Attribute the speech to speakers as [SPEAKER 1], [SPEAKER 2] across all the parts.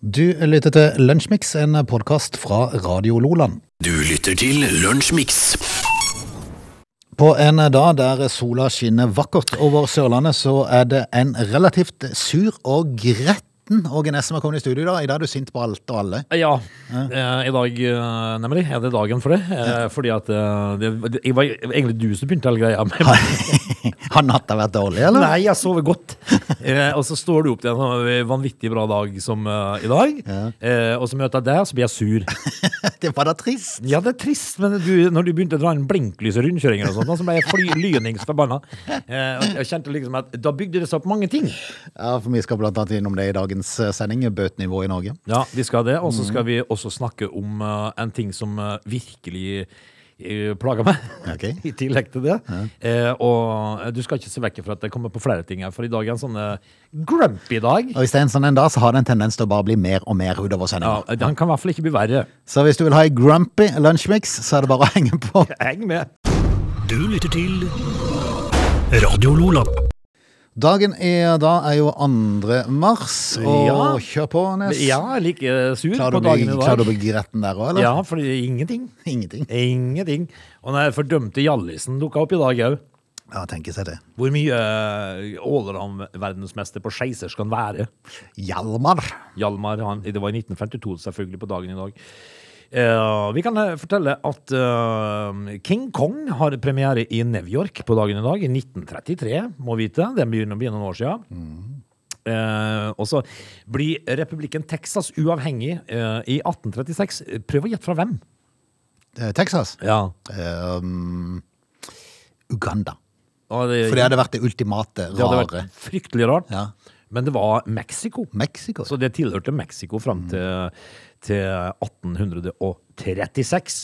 [SPEAKER 1] Du lytter til Lunsjmix, en podkast fra Radio Loland.
[SPEAKER 2] Du lytter til Lunsjmix.
[SPEAKER 1] På en dag der sola skinner vakkert over Sørlandet, så er det en relativt sur og gretten Åge Ness som har kommet i studio i dag. I dag er du sint på alt og alle.
[SPEAKER 3] Ja, eh, i dag eh, nemlig er det dagen for det. Eh, fordi at eh, det, det jeg var egentlig du som begynte hele greia. Med.
[SPEAKER 1] Har natta vært dårlig, eller?
[SPEAKER 3] Nei, jeg sover godt. Eh, og så står du opp til en sånn vanvittig bra dag som eh, i dag, eh, og så møter jeg deg, og så blir jeg sur.
[SPEAKER 1] Det var da trist.
[SPEAKER 3] Ja, det er trist, men du, når du begynte å dra inn blinklys og rundkjøringer og sånt, så ble jeg fly, lyningsforbanna. Eh, og jeg kjente liksom at da bygde det seg opp mange ting.
[SPEAKER 1] Ja, for Vi skal blant annet innom det i dagens eh, sending. Bøtenivået i Norge.
[SPEAKER 3] Ja, vi skal det.
[SPEAKER 1] Mm.
[SPEAKER 3] Og så skal vi også snakke om eh, en ting som eh, virkelig eh, plager meg,
[SPEAKER 1] Ok.
[SPEAKER 3] i tillegg til det. Eh, og eh, du skal ikke se vekk fra at jeg kommer på flere ting her, for i dag er en sånn eh, grumpy dag.
[SPEAKER 1] Og Hvis det er en sånn en dag, så har det en tendens til å bare bli mer og mer utover
[SPEAKER 3] Ja,
[SPEAKER 1] sendinga.
[SPEAKER 3] han kan i hvert fall ikke bli verre.
[SPEAKER 1] Så hvis du vil ha ei grumpy lunsjmix, så er det bare å henge på.
[SPEAKER 3] Heng med.
[SPEAKER 2] Du lytter til Radio Lola.
[SPEAKER 1] Dagen i dag er jo 2. mars, og
[SPEAKER 3] Ja.
[SPEAKER 1] kjør på, Ness.
[SPEAKER 3] Ja, jeg er like eh, sur
[SPEAKER 1] Klarer du
[SPEAKER 3] på
[SPEAKER 1] å bli,
[SPEAKER 3] dagen i
[SPEAKER 1] klarer du
[SPEAKER 3] dag.
[SPEAKER 1] å bli gretten der òg, eller?
[SPEAKER 3] Ja, for det er ingenting.
[SPEAKER 1] Ingenting.
[SPEAKER 3] Ingenting. Og den fordømte Jallisen dukka opp i dag òg.
[SPEAKER 1] Ja, tenker seg det.
[SPEAKER 3] Hvor mye eh, åler han verdensmester på skeisers kan være?
[SPEAKER 1] Hjalmar.
[SPEAKER 3] Hjalmar, han, det var i 1952 selvfølgelig på dagen i dag. Eh, vi kan eh, fortelle at eh, King Kong har premiere i New York på dagen i dag, i 1933, må vite. Det begynner å bli noen år siden. Eh, og så blir republikken Texas uavhengig eh, i 1836. Prøv å gjette fra hvem?
[SPEAKER 1] Eh, Texas.
[SPEAKER 3] Ja.
[SPEAKER 1] Ehm, Uganda.
[SPEAKER 3] Og det,
[SPEAKER 1] For det hadde vært det ultimate
[SPEAKER 3] det hadde
[SPEAKER 1] rare.
[SPEAKER 3] vært fryktelig rart.
[SPEAKER 1] Ja.
[SPEAKER 3] Men det var Mexico.
[SPEAKER 1] Mexico.
[SPEAKER 3] Så det tilhørte Mexico fram til, til 1836.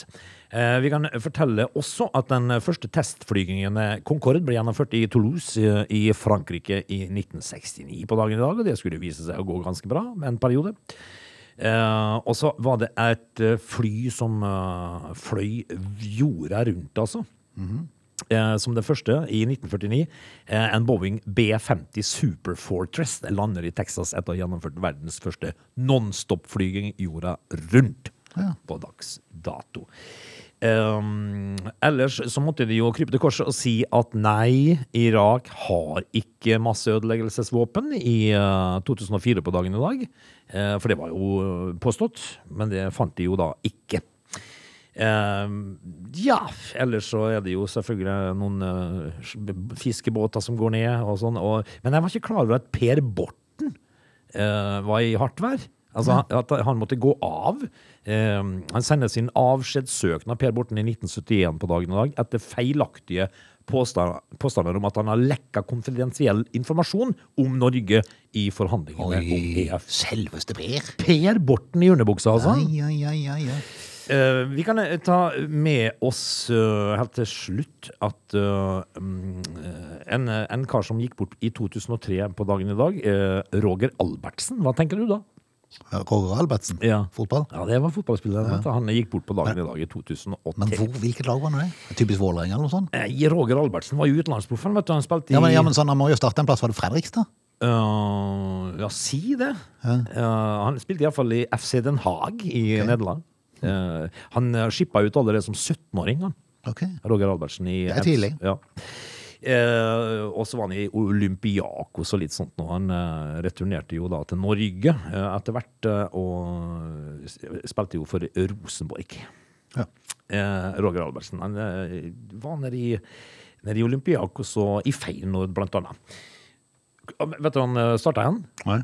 [SPEAKER 3] Eh, vi kan fortelle også at den første testflygingen med Concorde ble gjennomført i Toulouse eh, i Frankrike i 1969 på dagen i dag, og det skulle vise seg å gå ganske bra med en periode. Eh, og så var det et eh, fly som eh, fløy jorda rundt, altså. Eh, som det første i 1949. Eh, en Boeing B-50 Super Fortress Den lander i Texas etter å ha gjennomført verdens første nonstop-flyging jorda rundt. På dags dato. Um, ellers så måtte de jo krype til korset og si at nei, Irak har ikke masseødeleggelsesvåpen i eh, 2004 på dagen i dag. Eh, for det var jo eh, påstått, men det fant de jo da ikke. Eh, ja, ellers så er det jo selvfølgelig noen eh, fiskebåter som går ned og sånn. Og, men jeg var ikke klar over at Per Borten eh, var i hardt vær. Altså at han måtte gå av. Eh, han sender sin avskjedssøknad Per Borten i 1971 på dagen i dag etter feilaktige påstander, påstander om at han har lekka konfidensiell informasjon om Norge i forhandlingene om
[SPEAKER 1] Oi,
[SPEAKER 3] EF.
[SPEAKER 1] selveste Per.
[SPEAKER 3] Per Borten i underbuksa, altså.
[SPEAKER 1] Ai, ai, ai, ai, ai.
[SPEAKER 3] Eh, vi kan eh, ta med oss eh, helt til slutt at eh, mm, eh, en, eh, en kar som gikk bort i 2003 på dagen i dag, eh, Roger Albertsen, hva tenker du da?
[SPEAKER 1] Roger Albertsen.
[SPEAKER 3] Ja.
[SPEAKER 1] Fotball.
[SPEAKER 3] Ja, det var fotballspilleren. vet du. Han gikk bort på dagen i dag i
[SPEAKER 1] Men
[SPEAKER 3] 2003.
[SPEAKER 1] hvor, hvilket lag var nå det? Typisk Vålerenga eller noe sånt?
[SPEAKER 3] Nei, Roger Albertsen var jo utenlandsproff. Han, vet du, han spilte i
[SPEAKER 1] Ja, men, ja, men sånn, Han må jo starte en plass. Var det Fredrikstad?
[SPEAKER 3] Eh, ja, si det. Eh, han spilte iallfall i FC Den Haag i Nederland. Eh, han eh, skippa ut allerede som 17-åring, han.
[SPEAKER 1] Ok.
[SPEAKER 3] Roger Albertsen i
[SPEAKER 1] Det er tidlig.
[SPEAKER 3] Ja. Eh, og så var han i Olympiakos og litt sånt nå. Han eh, returnerte jo da til Norge eh, etter hvert, eh, og s- spilte jo for Rosenborg.
[SPEAKER 1] Ja.
[SPEAKER 3] Eh, Roger Albertsen. Han eh, var nede i, nede i Olympiakos og i Feyenoord, blant annet. Ah, men Vet du hva han starta igjen?
[SPEAKER 1] Nei.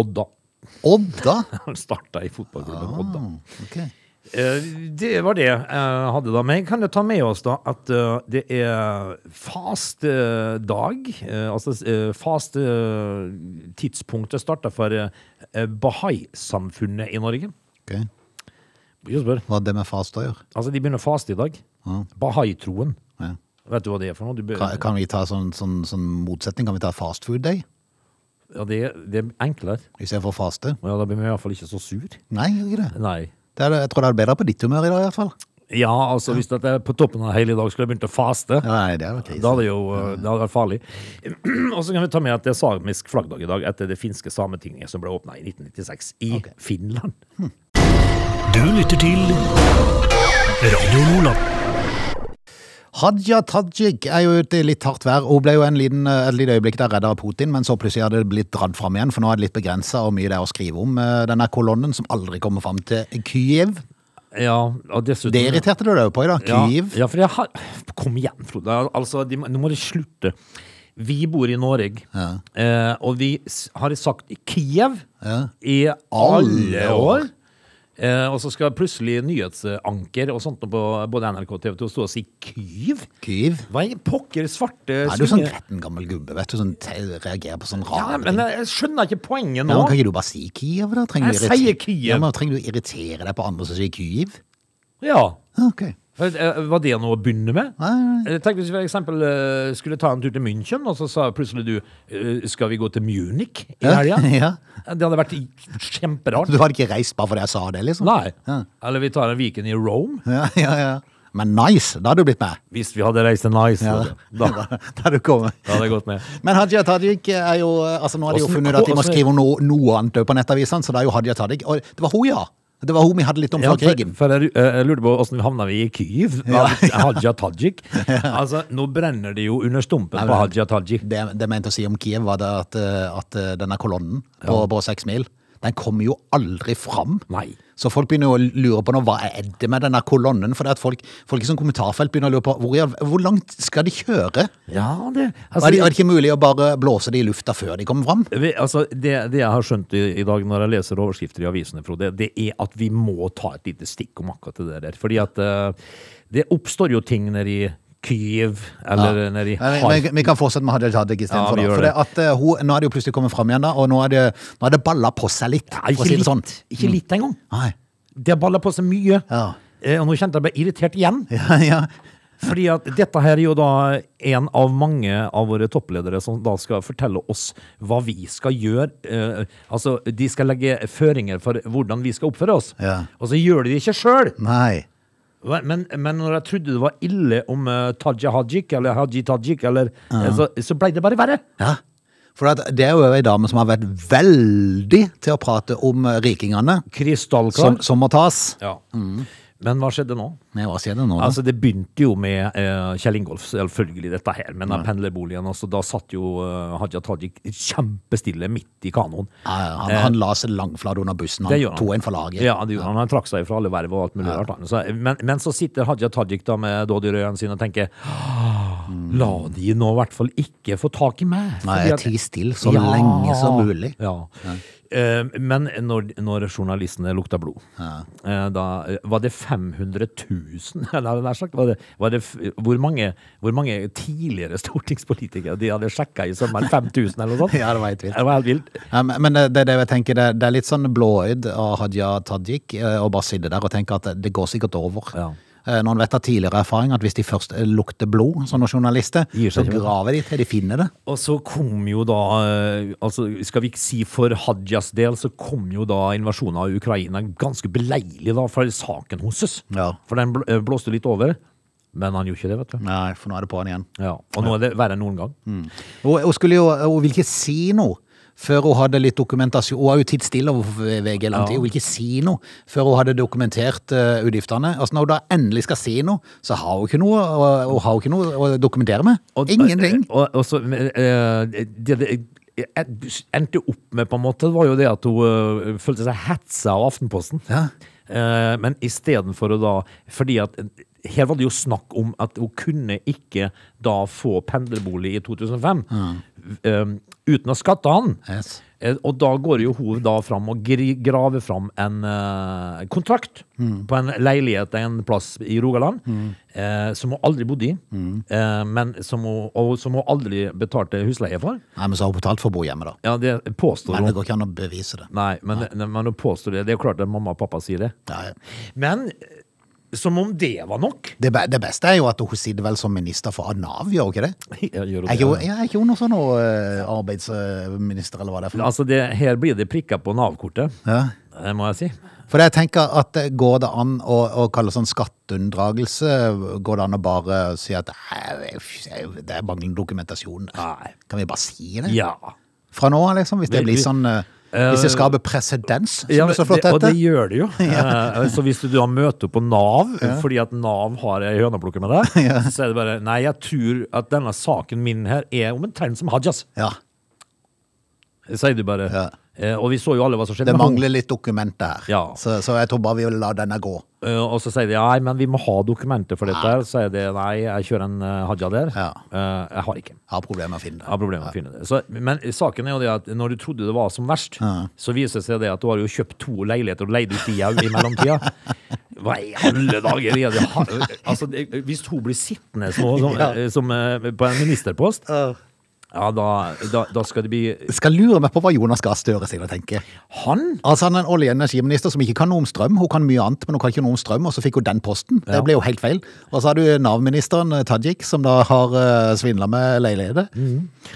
[SPEAKER 3] Odda.
[SPEAKER 1] Odda?
[SPEAKER 3] Han starta i fotballklubben Odda.
[SPEAKER 1] Ah, ok.
[SPEAKER 3] Eh, Det var det jeg hadde da. Men jeg kan jo ta med oss da at eh, det er fast eh, dag. eh, Altså eh, fast eh, tidspunktet starta for eh, eh, Bahai-samfunnet i Norge.
[SPEAKER 1] Ok.
[SPEAKER 3] Ikke spør.
[SPEAKER 1] Hva hadde det med fast å gjøre?
[SPEAKER 3] Altså, de begynner å faste i dag. Bahai-troen.
[SPEAKER 1] Ja.
[SPEAKER 3] Vet du hva det er for noe? Du bør,
[SPEAKER 1] Kan, kan vi ta sånn, sånn, sånn motsetning? Kan vi ta fast food day
[SPEAKER 3] ja, det, det er enklere.
[SPEAKER 1] istedenfor faste?
[SPEAKER 3] Ja, da blir vi i hvert fall ikke så sur.
[SPEAKER 1] Nei, gjør ikke det.
[SPEAKER 3] Nei.
[SPEAKER 1] det er, jeg tror det er bedre på ditt humør i dag, i hvert fall.
[SPEAKER 3] Ja, altså hvis at jeg på toppen av hele dag skulle jeg begynt å faste,
[SPEAKER 1] Ja, Nei, det var krise.
[SPEAKER 3] da hadde det jo eh,
[SPEAKER 1] Mm.
[SPEAKER 3] det hadde vært farlig. Og så kan vi ta med at det er samisk flaggdag i dag etter det finske sametinget som ble åpna i 1996 i Finland.
[SPEAKER 2] Du lytter til Radio Loland.
[SPEAKER 1] Hadia Tajik er jo ute i litt hardt vær. Hun ble jo en liten, et lite øyeblikk der redda av Putin, men så plutselig hadde det blitt dratt fram igjen, for nå er det litt begrensa hvor mye det er å skrive om. eh, Denne kolonnen som aldri kommer fram til Kyiv.
[SPEAKER 3] Ja, og dessuten
[SPEAKER 1] Det irriterte du deg jo på i dag. Kyiv.
[SPEAKER 3] Ja, ja for jeg har Kom igjen, Frode. Altså, de, må- nå må de slutte. Vi bor i Norge, eh, og vi s- har sagt Kiev i alle
[SPEAKER 1] Alle år.
[SPEAKER 3] år. Eh, og så skal plutselig nyhetsanker og sånt på både NRK og TV 2 stå og si Kyiv?
[SPEAKER 1] Kyiv.
[SPEAKER 3] Hva i pokker svarte
[SPEAKER 1] Er du sånn
[SPEAKER 3] svinge-
[SPEAKER 1] gretten gammel gubbe, vet du, som te- reagerer på sånn
[SPEAKER 3] Ja,
[SPEAKER 1] rare ting?
[SPEAKER 3] men jeg jeg skjønner ikke poenget
[SPEAKER 1] Ja,
[SPEAKER 3] nå.
[SPEAKER 1] men kan ikke du bare si Kyiv, da? Trenger du
[SPEAKER 3] Jeg
[SPEAKER 1] irrite-
[SPEAKER 3] sier Kyiv.
[SPEAKER 1] Ja, men trenger du irritere deg på andre som sier Kyiv?
[SPEAKER 3] Ja.
[SPEAKER 1] Ok.
[SPEAKER 3] For, eh, Var det noe å begynne med?
[SPEAKER 1] Nei,
[SPEAKER 3] Eh, Tenk hvis vi for eksempel eh, skulle ta en tur til München, og så sa plutselig du eh, Skal vi gå til Munich i
[SPEAKER 1] Ja,
[SPEAKER 3] helga?
[SPEAKER 1] ja.
[SPEAKER 3] Det hadde vært i- kjemperart.
[SPEAKER 1] Du hadde ikke reist bare fordi jeg sa det, liksom?
[SPEAKER 3] Nei. Eller vi tar en Viken i Rome.
[SPEAKER 1] Ja, ja, ja. Men nice, da hadde du blitt med.
[SPEAKER 3] Hvis vi hadde reist til Nice.
[SPEAKER 1] Ja,
[SPEAKER 3] vet du. Da,
[SPEAKER 1] da hadde du kommet.
[SPEAKER 3] da hadde jeg gått med.
[SPEAKER 1] Men Hadia Tajik er jo altså Nå har de jo
[SPEAKER 3] Hvordan-
[SPEAKER 1] funnet ut at de må
[SPEAKER 3] hvordan-
[SPEAKER 1] skrive om noe, noe annet på nettavisene, så det er jo Hadia Tajik. Og det var hun, ja! Det var hun vi hadde litt om
[SPEAKER 3] Ja,
[SPEAKER 1] fra
[SPEAKER 3] for,
[SPEAKER 1] krigen.
[SPEAKER 3] for jeg, eh, jeg lurte på åssen havna vi i Kyiv? av Hadia Tajik. Altså, nå brenner det jo under stumpen på Hadia
[SPEAKER 1] Det,
[SPEAKER 3] Tajik.
[SPEAKER 1] det jeg mente å si om Kiev, var det at, eh, at eh, denne kolonnen på, på seks mil, den kommer jo aldri fram.
[SPEAKER 3] Nei.
[SPEAKER 1] Så folk begynner å lure på nå, hva er det med denne kolonnen? For det at folk, folk i sånn kommentarfelt begynner å lure på hvor, i all- hvor langt skal de kjøre?
[SPEAKER 3] Ja, det
[SPEAKER 1] Er
[SPEAKER 3] altså,
[SPEAKER 1] det, er det ikke mulig å bare blåse det i lufta før de kommer fram?
[SPEAKER 3] Vi, altså, det, det jeg har skjønt i, i dag når jeg leser overskrifter i avisene, Frode, det er at vi må ta et lite stikk om akkurat det der. Fordi at eh, det oppstår jo ting nede i Kyiv, eller nede i
[SPEAKER 1] Nei,
[SPEAKER 3] Hark.
[SPEAKER 1] Vi, vi kan fortsette med Hadia Tajik
[SPEAKER 3] Ja,
[SPEAKER 1] istedenfor.
[SPEAKER 3] vi
[SPEAKER 1] Ja,
[SPEAKER 3] gjør
[SPEAKER 1] for
[SPEAKER 3] det.
[SPEAKER 1] det at, eh, hun- nå er det jo plutselig kommet fram igjen, da, og nå er det, nå er det balla på seg litt.
[SPEAKER 3] Ja,
[SPEAKER 1] for
[SPEAKER 3] ikke
[SPEAKER 1] å si det
[SPEAKER 3] litt,
[SPEAKER 1] sånn.
[SPEAKER 3] ikke litt engang.
[SPEAKER 1] Nei.
[SPEAKER 3] Det har balla på seg mye.
[SPEAKER 1] Ja.
[SPEAKER 3] Eh, og nå kjente jeg meg irritert igjen.
[SPEAKER 1] Ja, ja.
[SPEAKER 3] Fordi at dette her er jo da en av mange av våre toppledere som da skal fortelle oss hva vi skal gjøre. Eh, altså, de skal legge føringer for hvordan vi skal oppføre oss.
[SPEAKER 1] Ja.
[SPEAKER 3] Og så gjør de det ikke sjøl.
[SPEAKER 1] Nei.
[SPEAKER 3] Hva- Men, men når jeg trodde det var ille om uh, Taja Hajik, eller Haji Tajik, eller, eh, så, så ble det bare verre.
[SPEAKER 1] Ja. For at det er jo ei dame som har vært veldig til å prate om eh, rikingene, som,
[SPEAKER 3] Krystallklar.
[SPEAKER 1] som Mm. må tas.
[SPEAKER 3] Ja. Men hva skjedde nå?
[SPEAKER 1] Nei, hva skjer det nå? Da?
[SPEAKER 3] Altså, det begynte jo med eh, Kjell Ingolf, selvfølgelig dette her, men den pendlerboligen. Altså, da satt jo eh, Haja Tajik kjempestille midt i kanoen.
[SPEAKER 1] Ja, han, han la seg langflat under bussen.
[SPEAKER 3] eh, Det gjør
[SPEAKER 1] Han
[SPEAKER 3] han.
[SPEAKER 1] tok en for laget.
[SPEAKER 3] Ja, det gjorde han. Han trakk seg fra alle verv og alt mulig rart. han. Så, men, men så sitter Haja Tajik da med dådyrøyene sine og
[SPEAKER 1] Mm.
[SPEAKER 3] tenker «Ah, La de nå i hvert fall ikke få tak i meg.
[SPEAKER 1] Nei,
[SPEAKER 3] fordi at-
[SPEAKER 1] ti still så lenge som mulig.
[SPEAKER 3] Ja. Eh, Men når, når journalistene lukta blod, eh, da eh, var det 500 000 eller nær sagt, var det, var det, f- hvor, mange, hvor mange tidligere stortingspolitikere de hadde sjekka i sommer? 5000 eller noe sånt?
[SPEAKER 1] Ja, det var helt vilt.
[SPEAKER 3] Det var helt vilt.
[SPEAKER 1] Ja, men- Men det, det, er det, jeg tenker, det, det er litt sånn blåøyd av Hadia Tajik eh, å bare sitte der og tenke at det går sikkert over.
[SPEAKER 3] Ja.
[SPEAKER 1] Eh, Når en vet av tidligere erfaring at hvis de først eh, lukter blod, sånne journalister,
[SPEAKER 3] Gir
[SPEAKER 1] så
[SPEAKER 3] seg ikke.
[SPEAKER 1] graver de til de finner det.
[SPEAKER 3] Og så kom jo da eh, altså Skal vi ikke si for Hajas del, så kom jo da invasjonen av Ukraina ganske beleilig da for saken hennes.
[SPEAKER 1] Ja.
[SPEAKER 3] For den bl- eh, blåste litt over. Men han gjorde ikke det, vet du.
[SPEAKER 1] Nei, for nå er det på'n igjen.
[SPEAKER 3] Ja. Og nå er det verre enn noen gang.
[SPEAKER 1] Hun, hun skulle jo, hun ville ikke si noe før hun hadde litt dokumentasjon. Hun har jo tidd stille overfor VG i lang tid. Hun vil ikke si noe før hun hadde dokumentert eh, utgiftene. Altså Når hun da endelig skal si noe, så har hun ikke noe, å- hun har jo ikke noe å dokumentere med.
[SPEAKER 3] Og-
[SPEAKER 1] Ingenting.
[SPEAKER 3] Og, og så, men, eh, det, det jeg endte opp med, på en måte, var jo det at hun eh, følte seg hetsa av Aftenposten.
[SPEAKER 1] Ja.
[SPEAKER 3] Eh, men istedenfor å da Fordi at eh, her var det jo snakk om at hun kunne ikke da få pendlerbolig i 2005 eh, uten å skatte han.
[SPEAKER 1] Yes.
[SPEAKER 3] Eh, Og da går jo hun da fram og gri- graver fram en eh, kontrakt
[SPEAKER 1] Mm.
[SPEAKER 3] på en leilighet en plass i Rogaland, eh, som hun aldri bodde i,
[SPEAKER 1] Mm.
[SPEAKER 3] eh, men som hun, og som hun aldri betalte husleie for.
[SPEAKER 1] Nei, men så har hun betalt for å bo hjemme, da.
[SPEAKER 3] Ja, det påstår
[SPEAKER 1] Men det
[SPEAKER 3] hun.
[SPEAKER 1] går ikke an å bevise det.
[SPEAKER 3] Nei, men, men hun påstår det. Det er jo klart at mamma og pappa sier det.
[SPEAKER 1] Nei.
[SPEAKER 3] Men eh, som om det var nok.
[SPEAKER 1] Det, be det beste er jo at hun sitter vel som minister for Nav, gjør hun ikke det?
[SPEAKER 3] Gjør hun
[SPEAKER 1] Er
[SPEAKER 3] det?
[SPEAKER 1] ikke hun, ja, er ikke hun noe sånn noe, eh, arbeidsminister, eller hva det er for noe?
[SPEAKER 3] Altså, det, her blir det prikka på Nav-kortet,
[SPEAKER 1] Ja.
[SPEAKER 3] eh, må jeg si.
[SPEAKER 1] For jeg tenker at det går det an å, å kalle sånn skatteunndragelse Går det an å bare si at "Nei, det er manglende dokumentasjon?
[SPEAKER 3] Nei.
[SPEAKER 1] Kan vi bare si det?
[SPEAKER 3] Ja.
[SPEAKER 1] Fra nå av, liksom? Hvis det
[SPEAKER 3] Vel,
[SPEAKER 1] blir
[SPEAKER 3] vi-
[SPEAKER 1] sånn eh, Hvis det skaper presedens, som
[SPEAKER 3] Ja,
[SPEAKER 1] det så flott
[SPEAKER 3] det- og det
[SPEAKER 1] heter?
[SPEAKER 3] gjør det jo. Eh, Så hvis du da møter på Nav, fordi at Nav har ei høneplukke med deg, så er det bare Nei, jeg tror at denne saken min her er omtrent som Hajas,
[SPEAKER 1] Ja.
[SPEAKER 3] sier du bare.
[SPEAKER 1] Ja.
[SPEAKER 3] Eh, Og vi så jo alle hva som skjedde.
[SPEAKER 1] Det
[SPEAKER 3] med
[SPEAKER 1] mangler litt dokumenter her,
[SPEAKER 3] Ja.
[SPEAKER 1] så, så jeg tror bare vi vil la denne gå.
[SPEAKER 3] Eh, Og så sier de nei, men vi må ha dokumenter for dette. her Så sier de nei, jeg kjører en eh, Haja der.
[SPEAKER 1] Ja.
[SPEAKER 3] Eh, Jeg har ikke.
[SPEAKER 1] Har problemer med å finne
[SPEAKER 3] Jeg har
[SPEAKER 1] det.
[SPEAKER 3] problemer med å finne det. Så, men saken er jo det at når du trodde det var som verst, så viser det seg det at du har jo kjøpt to leiligheter og leid ut de òg i mellomtida. Hva i alle dager er det? Ha- Altså, det- hvis hun blir sittende nå som, som, eh, på en ministerpost, ja, da, da, da skal det bli
[SPEAKER 1] Skal lure meg på hva Jonas Gahr Støre sier og tenker.
[SPEAKER 3] Han?
[SPEAKER 1] Altså Han er en olje- og energiminister som ikke kan noe om strøm. Hun kan mye annet, men hun kan ikke noe om strøm, og så fikk hun den posten. Det ble jo helt feil. Og så har du Nav-ministeren, eh, Tajik, som da har uh, svindla med leiligheter.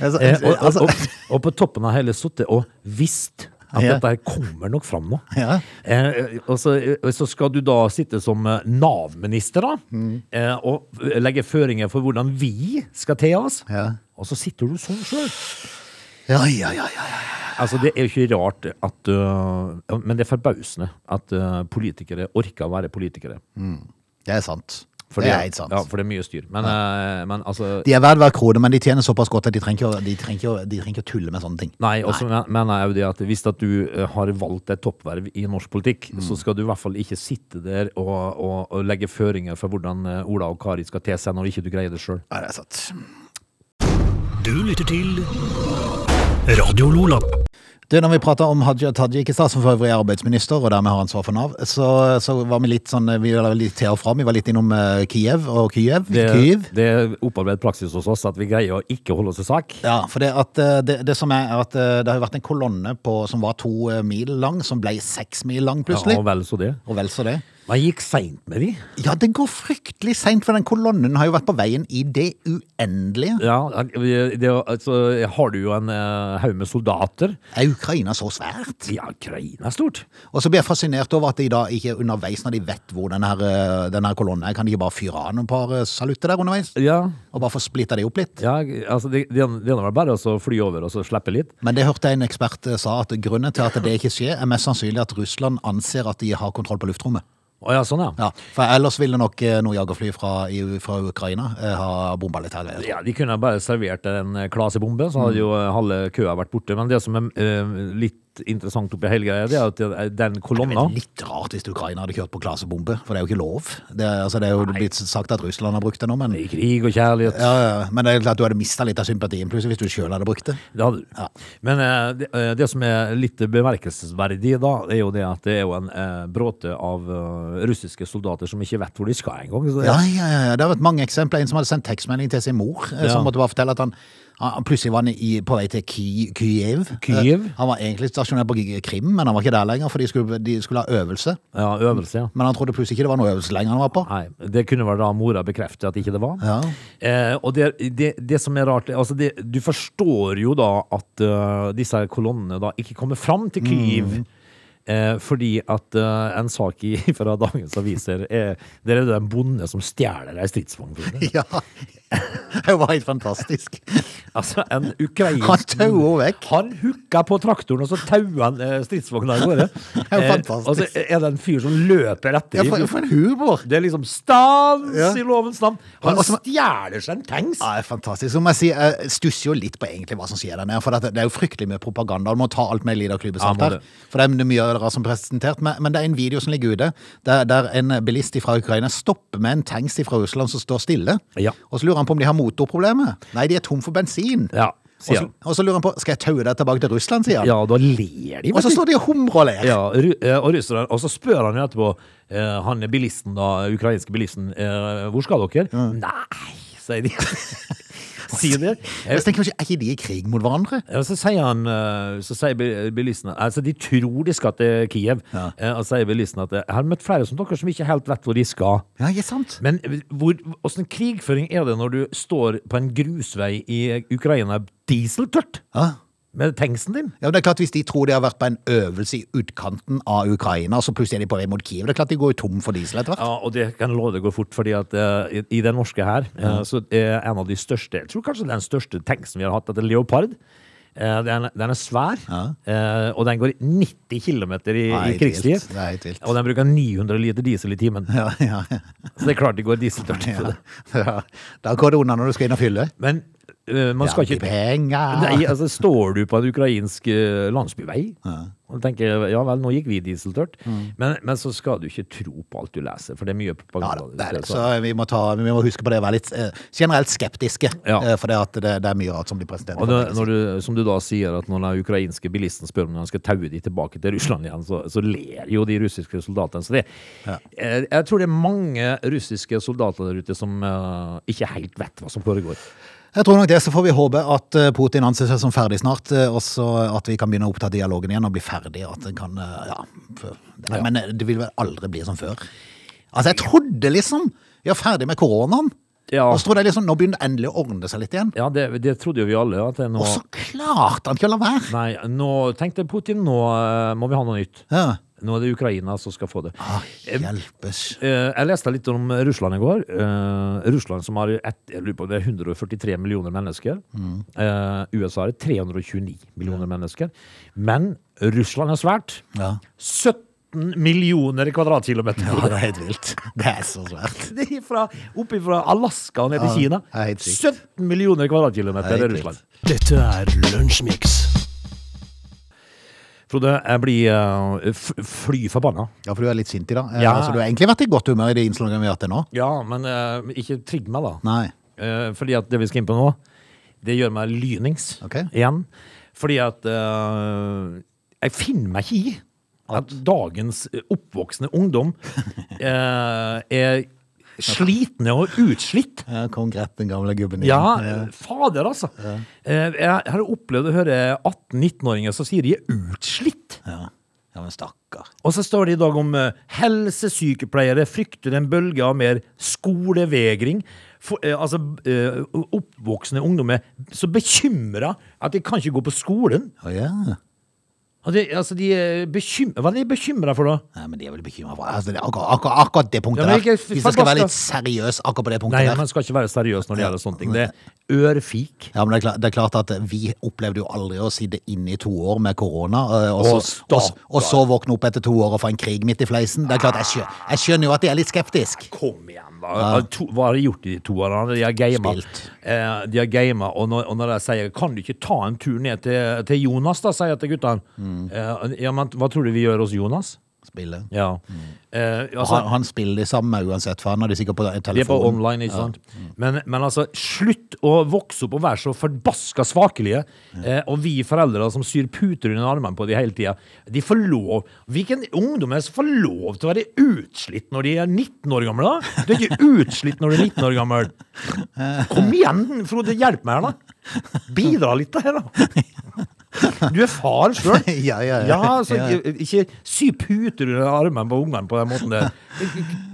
[SPEAKER 1] Altså,
[SPEAKER 3] Eh, og, og,
[SPEAKER 1] altså,
[SPEAKER 3] og, og på toppen av hele sittet og visst at
[SPEAKER 1] Ja.
[SPEAKER 3] dette her kommer nok fram nå.
[SPEAKER 1] Ja.
[SPEAKER 3] Eh, og så, og så skal du da sitte som eh, Nav-minister da,
[SPEAKER 1] Mm.
[SPEAKER 3] eh, og legge føringer for hvordan vi skal te oss.
[SPEAKER 1] Ja.
[SPEAKER 3] Og så sitter du sånn sjøl.
[SPEAKER 1] ja, ja, ja, ja. ja.
[SPEAKER 3] Altså, det er jo ikke rart at øh, Men det er forbausende at øh, politikere orker å være politikere.
[SPEAKER 1] Det er sant.
[SPEAKER 3] For
[SPEAKER 1] det er helt sant.
[SPEAKER 3] Ja, for det er mye styr. Men, øh, men altså
[SPEAKER 1] De er verdt hver krone, men de tjener såpass godt at de trenger ikke å, de trenger ikke å, de trenger ikke å tulle med sånne ting.
[SPEAKER 3] Nei, og så men- mener jeg jo det at hvis at du eh, har valgt et toppverv i norsk politikk, så skal du i hvert fall ikke sitte der og, og, og legge føringer for hvordan eh, Ola og Kari skal te seg når ikke du greier det sjøl.
[SPEAKER 1] Ja, det er sant.
[SPEAKER 2] Du lytter til Radio Lola.
[SPEAKER 1] Du, når vi prata om Hadia Tajik i stad, som for øvrig er arbeidsminister og dermed har ansvar for Nav, så, så var vi litt sånn Vi var litt til og fra. Vi var litt innom eh, Kiev og Kyiv.
[SPEAKER 3] Det,
[SPEAKER 1] Kyiv.
[SPEAKER 3] det er opparbeidet praksis hos oss at vi greier å ikke holde oss i sak.
[SPEAKER 1] Ja, for det, at, eh, det, det som er at eh, det har jo vært en kolonne på, som var to eh, mil lang, som ble seks mil lang plutselig.
[SPEAKER 3] Ja, og vel så det.
[SPEAKER 1] og vel så det.
[SPEAKER 3] Man gikk seint med de.
[SPEAKER 1] Ja, det går fryktelig seint, for den kolonnen har jo vært på veien i det uendelige.
[SPEAKER 3] Ja, det, altså, har du jo en eh, haug med soldater.
[SPEAKER 1] Er Ukraina så svært?
[SPEAKER 3] Ja, Ukraina er stort.
[SPEAKER 1] Og så blir jeg fascinert over at de da ikke underveis, når de vet hvor den her, eh, den her kolonnen er, kan de ikke bare fyre av noen par eh, salutter der underveis?
[SPEAKER 3] Ja,
[SPEAKER 1] Og bare få splitta de opp litt?
[SPEAKER 3] ja altså, det, det det er vel bare å så fly over og så slippe litt.
[SPEAKER 1] Men det hørte jeg en ekspert eh, sa, at grunnen til at det ikke skjer, er mest sannsynlig at Russland anser at de har kontroll på luftrommet.
[SPEAKER 3] Å ja, sånn ja.
[SPEAKER 1] Ja, for ellers ville nok eh, noen jagerfly fra, EU fra Ukraina eh, ha bomba litt her. jeg tror.
[SPEAKER 3] Ja, De kunne bare servert en eh, klasebombe, så hadde jo eh, halve køa vært borte. Men det som er eh, litt interessant oppi hele greia, det er at eh, den
[SPEAKER 1] Det
[SPEAKER 3] kolonna
[SPEAKER 1] er litt rart hvis Ukraina hadde kjørt på klasebombe, for det er jo ikke lov. Det, er- altså, det er jo blitt sagt at Russland har brukt det nå, men,
[SPEAKER 3] i krig og kjærlighet
[SPEAKER 1] ja, ja, men det er klart du hadde mista litt av sympatien plutselig hvis du sjøl hadde brukt det.
[SPEAKER 3] det hadde du. Men eh, det, eh, det som er litt bemerkelsesverdig, da, er jo det at det er jo en eh, bråte av eh, russiske soldater som ikke vet hvor de skal engang. Så det-
[SPEAKER 1] Ja, ja, ja, ja. Det har vært mange eksempler. En som hadde sendt tekstmelding til sin mor, eh, som
[SPEAKER 3] Ja.
[SPEAKER 1] måtte bare fortelle at han, han han plutselig var han i, på vei til Ki- Kyiv.
[SPEAKER 3] Kyiv?
[SPEAKER 1] Eh, Han var egentlig stasjonert på Krim, men han var ikke der lenger, for de skulle, de skulle ha øvelse.
[SPEAKER 3] ja, øvelse, ja.
[SPEAKER 1] Men han trodde plutselig ikke det var noe øvelse lenger han var på.
[SPEAKER 3] Nei, Det kunne vel da mora bekrefte at ikke det var.
[SPEAKER 1] Ja.
[SPEAKER 3] Eh, og det, det, det som er rart altså det, Du forstår jo da at eh, disse her kolonnene da ikke kommer fram til Kyiv.
[SPEAKER 1] Mm.
[SPEAKER 3] Eh, fordi at eh, en sak i, fra dagens aviser er Det er jo en bonde som stjeler ei stridsvogn. for det.
[SPEAKER 1] Ja. Det var helt fantastisk.
[SPEAKER 3] Altså, en ukrainsk
[SPEAKER 1] Han tauer vekk.
[SPEAKER 3] Han hooka på traktoren, og så tauer han eh, stridsvogna av gårde.
[SPEAKER 1] er jo
[SPEAKER 3] Eh,
[SPEAKER 1] fantastisk.
[SPEAKER 3] og så er det en fyr som løper etter
[SPEAKER 1] Ja,
[SPEAKER 3] dem.
[SPEAKER 1] for, for en humor!
[SPEAKER 3] Det er liksom stans
[SPEAKER 1] Ja.
[SPEAKER 3] i lovens navn! Han
[SPEAKER 1] Og så-
[SPEAKER 3] stjeler seg en tanks!
[SPEAKER 1] Ja, det er fantastisk. Så må jeg si, jeg stusser jo litt på egentlig hva som skjer der nede. For det, det er jo fryktelig mye propaganda. Du må ta alt med en liten klype salt
[SPEAKER 3] Ja,
[SPEAKER 1] her.
[SPEAKER 3] må det.
[SPEAKER 1] For det er mye rart som er presentert. Men, men det er en video som ligger ute, der, der en bilist fra Ukraina stopper med en tanks fra Russland som står stille.
[SPEAKER 3] Ja.
[SPEAKER 1] Og så lurer han på om de har motorproblemer. Nei, de er tom for bensin.
[SPEAKER 3] Ja,
[SPEAKER 1] Og
[SPEAKER 3] sier
[SPEAKER 1] så,
[SPEAKER 3] han.
[SPEAKER 1] og så lurer han på skal jeg taue deg tilbake til Russland, sier han.
[SPEAKER 3] Ja, da ler de.
[SPEAKER 1] Og så
[SPEAKER 3] vet du.
[SPEAKER 1] står de og humrer og ler.
[SPEAKER 3] ja, ru- eh, og, russeren, og så spør han jo etterpå, eh, han bilisten da, ukrainske bilisten, eh, hvor skal dere? Nei, sier de. sier de. Eh,
[SPEAKER 1] Jeg tenker kanskje, Er ikke de i krig mot hverandre?
[SPEAKER 3] og så sier han, eh, så sier bi- bilisten, altså de tror de skal til Kiev,
[SPEAKER 1] Ja.
[SPEAKER 3] eh, og sier bilisten at eh, jeg har møtt flere som dere som ikke helt vet hvor de skal.
[SPEAKER 1] Ja, ikke sant?
[SPEAKER 3] Men hvor, hvordan krigføring er det når du står på en grusvei i Ukraina dieseltørt?
[SPEAKER 1] Ja.
[SPEAKER 3] Med tanksen din?
[SPEAKER 1] Ja, men det er klart Hvis de tror de har vært på en øvelse i utkanten av Ukraina, og så plutselig er de på vei mot Kiev, det er klart de går jo tom for diesel etter hvert.
[SPEAKER 3] Ja, og det kan jeg love det går fort, fordi at eh, i, i den norske her, eh, så er en av de største, jeg tror kanskje den største tanksen vi har hatt, at det er Leopard. Eh, den, den er svær, eh, og den går 90 kilometer i,
[SPEAKER 1] Nei,
[SPEAKER 3] i krigstid.
[SPEAKER 1] helt vilt. Det er helt vilt.
[SPEAKER 3] Og den bruker 900 liter diesel i timen.
[SPEAKER 1] Ja, ja, ja.
[SPEAKER 3] Så det er klart det går dieseltørt.
[SPEAKER 1] ja. ja. Da går det unna når du skal inn og fylle.
[SPEAKER 3] Men eh, man skal
[SPEAKER 1] Ja,
[SPEAKER 3] ikke...
[SPEAKER 1] penger.
[SPEAKER 3] Nei, altså Står du på en ukrainsk eh, landsbyvei og tenker ja vel, nå gikk vi dieseltørt,
[SPEAKER 1] Mm.
[SPEAKER 3] men, men så skal du ikke tro på alt du leser, for det er mye
[SPEAKER 1] Ja,
[SPEAKER 3] propaganda.
[SPEAKER 1] da, det er det. Så vi må, ta, vi må huske på det å være litt eh, generelt skeptiske,
[SPEAKER 3] Ja.
[SPEAKER 1] eh, for det, at det, det er mye rart som blir presentert.
[SPEAKER 3] Og når, når du, som du da sier at når den ukrainske bilisten spør om han skal taue de tilbake til Russland igjen, så, så ler jo de russiske soldatene. Så det, eh, jeg tror det er mange russiske soldater der ute som eh, ikke helt vet hva som foregår.
[SPEAKER 1] Jeg tror nok det, så får vi håpe at eh, Putin anser seg som ferdig snart, eh, og så at vi kan begynne å oppta dialogen igjen og bli ferdig, at den kan, eh, ja, for- Nei, men eh, det vil vel aldri bli som før. Altså, jeg trodde liksom, vi er ferdig med koronaen,
[SPEAKER 3] Ja.
[SPEAKER 1] og så trodde jeg liksom, nå begynner det endelig å ordne seg litt igjen,
[SPEAKER 3] Ja, det, det trodde jo vi alle. At det nå,
[SPEAKER 1] og så klart han ikke å la være.
[SPEAKER 3] nei, nå tenkte Putin nå eh, må vi ha noe nytt.
[SPEAKER 1] Ja.
[SPEAKER 3] Nå er det Ukraina som skal få det.
[SPEAKER 1] Ah, hjelpes.
[SPEAKER 3] Eh, Jeg leste litt om Russland i går. Eh, Russland som har et, jeg lurer på, det er 143 millioner mennesker. Eh, USA har 329 millioner mennesker. Men Russland er svært.
[SPEAKER 1] Ja.
[SPEAKER 3] 17 millioner kvadratkilometer!
[SPEAKER 1] Ja, det er helt vilt. Det er så svært.
[SPEAKER 3] Det er fra, oppe fra Alaska og ned til
[SPEAKER 1] Ja,
[SPEAKER 3] Kina.
[SPEAKER 1] det er helt sykt.
[SPEAKER 3] 17 millioner
[SPEAKER 1] Det
[SPEAKER 3] kvadratkilometer
[SPEAKER 1] er
[SPEAKER 3] er
[SPEAKER 1] helt
[SPEAKER 3] Russland.
[SPEAKER 2] Dette er Lunsjmix.
[SPEAKER 3] Frode, jeg blir eh, f fly forbanna.
[SPEAKER 1] Ja, for du er litt sint i dag. Eh,
[SPEAKER 3] Ja.
[SPEAKER 1] Altså, du har egentlig vært i godt humør i de innslagene vi har hatt til nå.
[SPEAKER 3] Ja, men eh, ikke trigg meg, da.
[SPEAKER 1] Nei.
[SPEAKER 3] Eh, fordi at det vi skal inn på nå, det gjør meg lynings
[SPEAKER 1] Ok.
[SPEAKER 3] igjen. Fordi at eh, jeg finner meg ikke i at dagens oppvoksende ungdom eh, er slitne og utslitt.
[SPEAKER 1] Ja, kom greit, den gamle gubben.
[SPEAKER 3] Ja,
[SPEAKER 1] igjen.
[SPEAKER 3] fader, altså. Eh, jeg har opplevd å høre 18-19-åringer som sier de er utslitt.
[SPEAKER 1] Ja. ja, men stakkar.
[SPEAKER 3] Og så står det i dag om eh, helsesykepleiere frykter en bølge av mer skolevegring. For, eh, altså eh, oppvoksende ungdommer så bekymra at de kan ikke gå på skolen.
[SPEAKER 1] Å ja.
[SPEAKER 3] Og de, altså, de er bekym Hva er de bekymra for, da?
[SPEAKER 1] Nei, men de er vel bekymra for altså, det er akkurat, akkurat, akkurat det punktet
[SPEAKER 3] Ja, men
[SPEAKER 1] der.
[SPEAKER 3] ikke
[SPEAKER 1] Hvis jeg skal være
[SPEAKER 3] forbaska.
[SPEAKER 1] litt seriøs akkurat på det punktet
[SPEAKER 3] Nei,
[SPEAKER 1] der.
[SPEAKER 3] Man skal ikke være seriøs når det gjelder sånne ting. Det er ørfik.
[SPEAKER 1] Ja, men det er, klart, det er klart at vi opplevde jo aldri å sitte inne i to år med korona, eh, og,
[SPEAKER 3] Å,
[SPEAKER 1] så- og, så- og så våkne opp etter to år og få en krig midt i fleisen. Det er klart, jeg skjønner, jeg skjønner jo at de er litt skeptiske.
[SPEAKER 3] Kom igjen, da. To, hva har de gjort i de to årene? De har gama.
[SPEAKER 1] Spilt.
[SPEAKER 3] Eh, de har gama, og når, og når de sier 'kan du ikke ta en tur ned til, til Jonas', da, sier jeg til guttene. Eh, ja, men hva tror du vi gjør hos Jonas?
[SPEAKER 1] Spille.
[SPEAKER 3] Ja. Eh,
[SPEAKER 1] Han,
[SPEAKER 3] altså,
[SPEAKER 1] han spiller de samme uansett, for han hadde sikkert på
[SPEAKER 3] det er på
[SPEAKER 1] telefonen.
[SPEAKER 3] online, ikke sant? Men, men altså, slutt å vokse opp og være så forbaska svakelige. Eh, og vi foreldre som syr puter under armene på de hele tida, de får lov Hvilken ungdom er det som får lov til å være utslitt når de er 19 år gamle, da? Du er ikke utslitt når du er 19 år gammel. Kom igjen, Frode. Hjelp meg her, da. Bidra litt her, da. Du er far sjøl.
[SPEAKER 1] Ja, ja, ja.
[SPEAKER 3] Ja, altså,
[SPEAKER 1] Ja.
[SPEAKER 3] i- Ikke sy puter under armen på ungene på den måten der.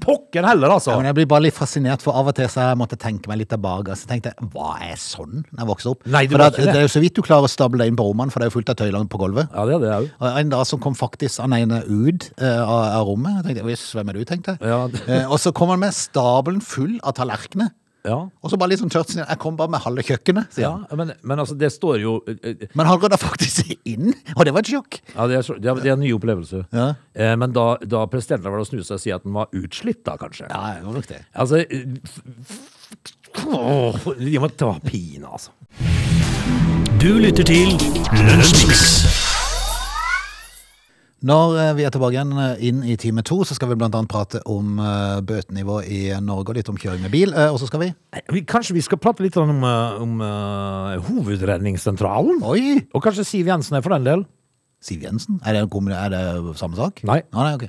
[SPEAKER 3] Pokker heller,
[SPEAKER 1] Ja,
[SPEAKER 3] altså.
[SPEAKER 1] men jeg blir bare litt fascinert, for av og til så har jeg måttet tenke meg litt tilbake. og Så tenkte jeg, var jeg sånn da jeg vokste opp?
[SPEAKER 3] Nei, du
[SPEAKER 1] for
[SPEAKER 3] var
[SPEAKER 1] at-
[SPEAKER 3] ikke det.
[SPEAKER 1] det er jo så vidt du klarer å stable deg inn på rommene, for det er jo fullt av tøyler på gulvet.
[SPEAKER 3] Ja, det er det òg.
[SPEAKER 1] Og en dag så kom faktisk han ene ut eh, av, av rommet. Jeg tenkte, Hvis, hvem er du, tenkte jeg.
[SPEAKER 3] Ja.
[SPEAKER 1] Eh, og så kom han med stabelen full av tallerkener.
[SPEAKER 3] Ja.
[SPEAKER 1] Og så bare litt sånn tørt, sier han, jeg kom bare med halve kjøkkenet, sier
[SPEAKER 3] ja
[SPEAKER 1] han.
[SPEAKER 3] men, men altså, det står jo eh,
[SPEAKER 1] Men han rydda faktisk inn, og det var et sjokk.
[SPEAKER 3] ja, det, er, så- det, er, det er en ny opplevelse.
[SPEAKER 1] Ja.
[SPEAKER 3] Eh, Men da, da presidenten var å snu seg og si at den var utslitt, da kanskje.
[SPEAKER 1] Ja, jeg gjorde nok det.
[SPEAKER 3] Altså eh, f- f- åh, De må ta pine, altså.
[SPEAKER 2] Du lytter til Lunsjmix.
[SPEAKER 1] Når eh, vi er tilbake igjen eh, inn i time to, så skal vi blant annet prate om eh, bøtenivå i Norge, og litt om kjøring med bil, eh, og så skal vi
[SPEAKER 3] Nei, vi- Kanskje vi skal prate litt om, eh, om eh, Hovedredningssentralen?
[SPEAKER 1] Oi!
[SPEAKER 3] Og kanskje Siv Jensen er for den del?
[SPEAKER 1] Siv Jensen? Er det, en kombi- er det samme sak?
[SPEAKER 3] Nei.
[SPEAKER 1] Ah, nei ok.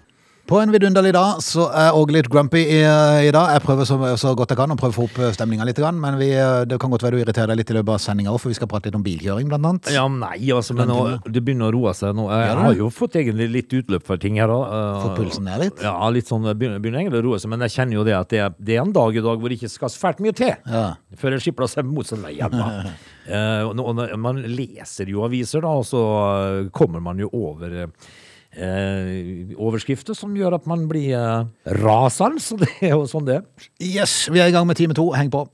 [SPEAKER 1] På en vidunderlig dag så er Åge litt grumpy i, i dag. Jeg prøver så, så godt jeg kan å prøve å få opp stemninga litt, grann, men vi, eh, det kan godt være du irriterer deg litt i løpet av sendinga òg, for vi skal prate litt om bilkjøring, blant annet.
[SPEAKER 3] Ja, nei, altså, men nå, det begynner å roe seg nå. Jeg
[SPEAKER 1] Gjør det?
[SPEAKER 3] har jo fått egentlig litt utløp for ting her. eh, da.
[SPEAKER 1] Fått pulsen ned litt?
[SPEAKER 3] Ja, litt sånn, det begynner, begynner egentlig å roe seg, men jeg kjenner jo det at det er, det er en dag i dag hvor det ikke skal så fælt mye til.
[SPEAKER 1] Ja.
[SPEAKER 3] Før en skipper seg motsatt vei igjen. da. Eh, og nå- og når- man leser jo aviser, da, og så eh, kommer man jo over eh, overskrifter som gjør at man blir eh, rasende. Så det er jo sånn det er.
[SPEAKER 1] Yes, vi er i gang med time to. Heng på.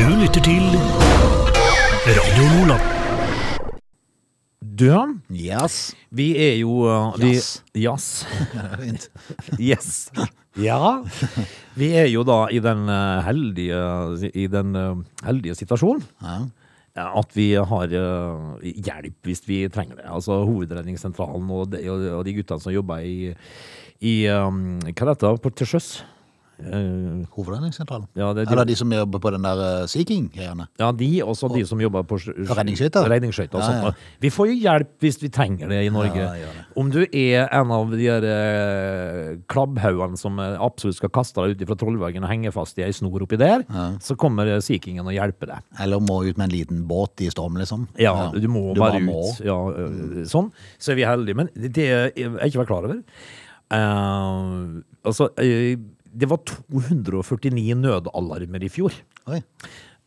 [SPEAKER 2] Du lytter til Radio Nordland.
[SPEAKER 3] Du, ja,
[SPEAKER 1] Yes.
[SPEAKER 3] vi er jo eh, vi-
[SPEAKER 1] Jazz.
[SPEAKER 3] Jazz.
[SPEAKER 1] Fint.
[SPEAKER 3] Yes. Ja. Vi er jo da i den eh, heldige, i den eh, heldige situasjonen
[SPEAKER 1] Ja.
[SPEAKER 3] eh, at vi har eh, hjelp hvis vi trenger det. Altså Hovedredningssentralen og de, og de guttene som jobber i, i um, Hva heter det på- til sjøs? Eh,
[SPEAKER 1] Hovedredningssentralen?
[SPEAKER 3] Ja, det er de-
[SPEAKER 1] Eller de som jobber på den der eh, Sea King-greiene?
[SPEAKER 3] Ja, de og så de som jobber på sjø- sjø-
[SPEAKER 1] Redningsskøyter.
[SPEAKER 3] redningsskøyter og
[SPEAKER 1] Ja,
[SPEAKER 3] sånt.
[SPEAKER 1] ja.
[SPEAKER 3] Vi får jo hjelp hvis vi trenger det i Norge.
[SPEAKER 1] Ja, gjør det.
[SPEAKER 3] Om du er en av de der eh, klabbhaugene som eh, absolutt skal kaste deg ut fra trollveggen og henge fast i ei snor oppi der, så kommer eh, Sea Kingen og hjelper deg.
[SPEAKER 1] Eller må ut med en liten båt i storm, liksom?
[SPEAKER 3] Ja, du må bare
[SPEAKER 1] må.
[SPEAKER 3] ut. Ja, eh, sånn. Så er vi heldige. Men det er jeg ikke var klar over. Eh, altså, eh, det var 249 nødalarmer i fjor.
[SPEAKER 1] Oi.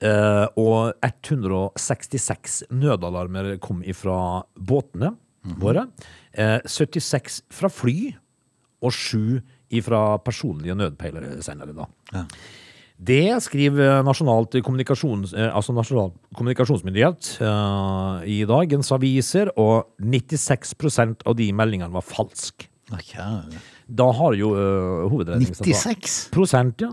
[SPEAKER 3] Eh, og 166 nødalarmer kom ifra båtene våre. Eh, 76 fra fly, og 7 ifra personlige nødpeilesendere. da.
[SPEAKER 1] Ja.
[SPEAKER 3] Det skriver Nasjonalt kommunikasjons, eh, altså Nasjonal kommunikasjonsmyndighet eh, i dagens aviser, og 96 av de meldingene var falsk.
[SPEAKER 1] Å, kjære.
[SPEAKER 3] Da har jo eh, hovedredningssentralen
[SPEAKER 1] 96?
[SPEAKER 3] Prosent, ja.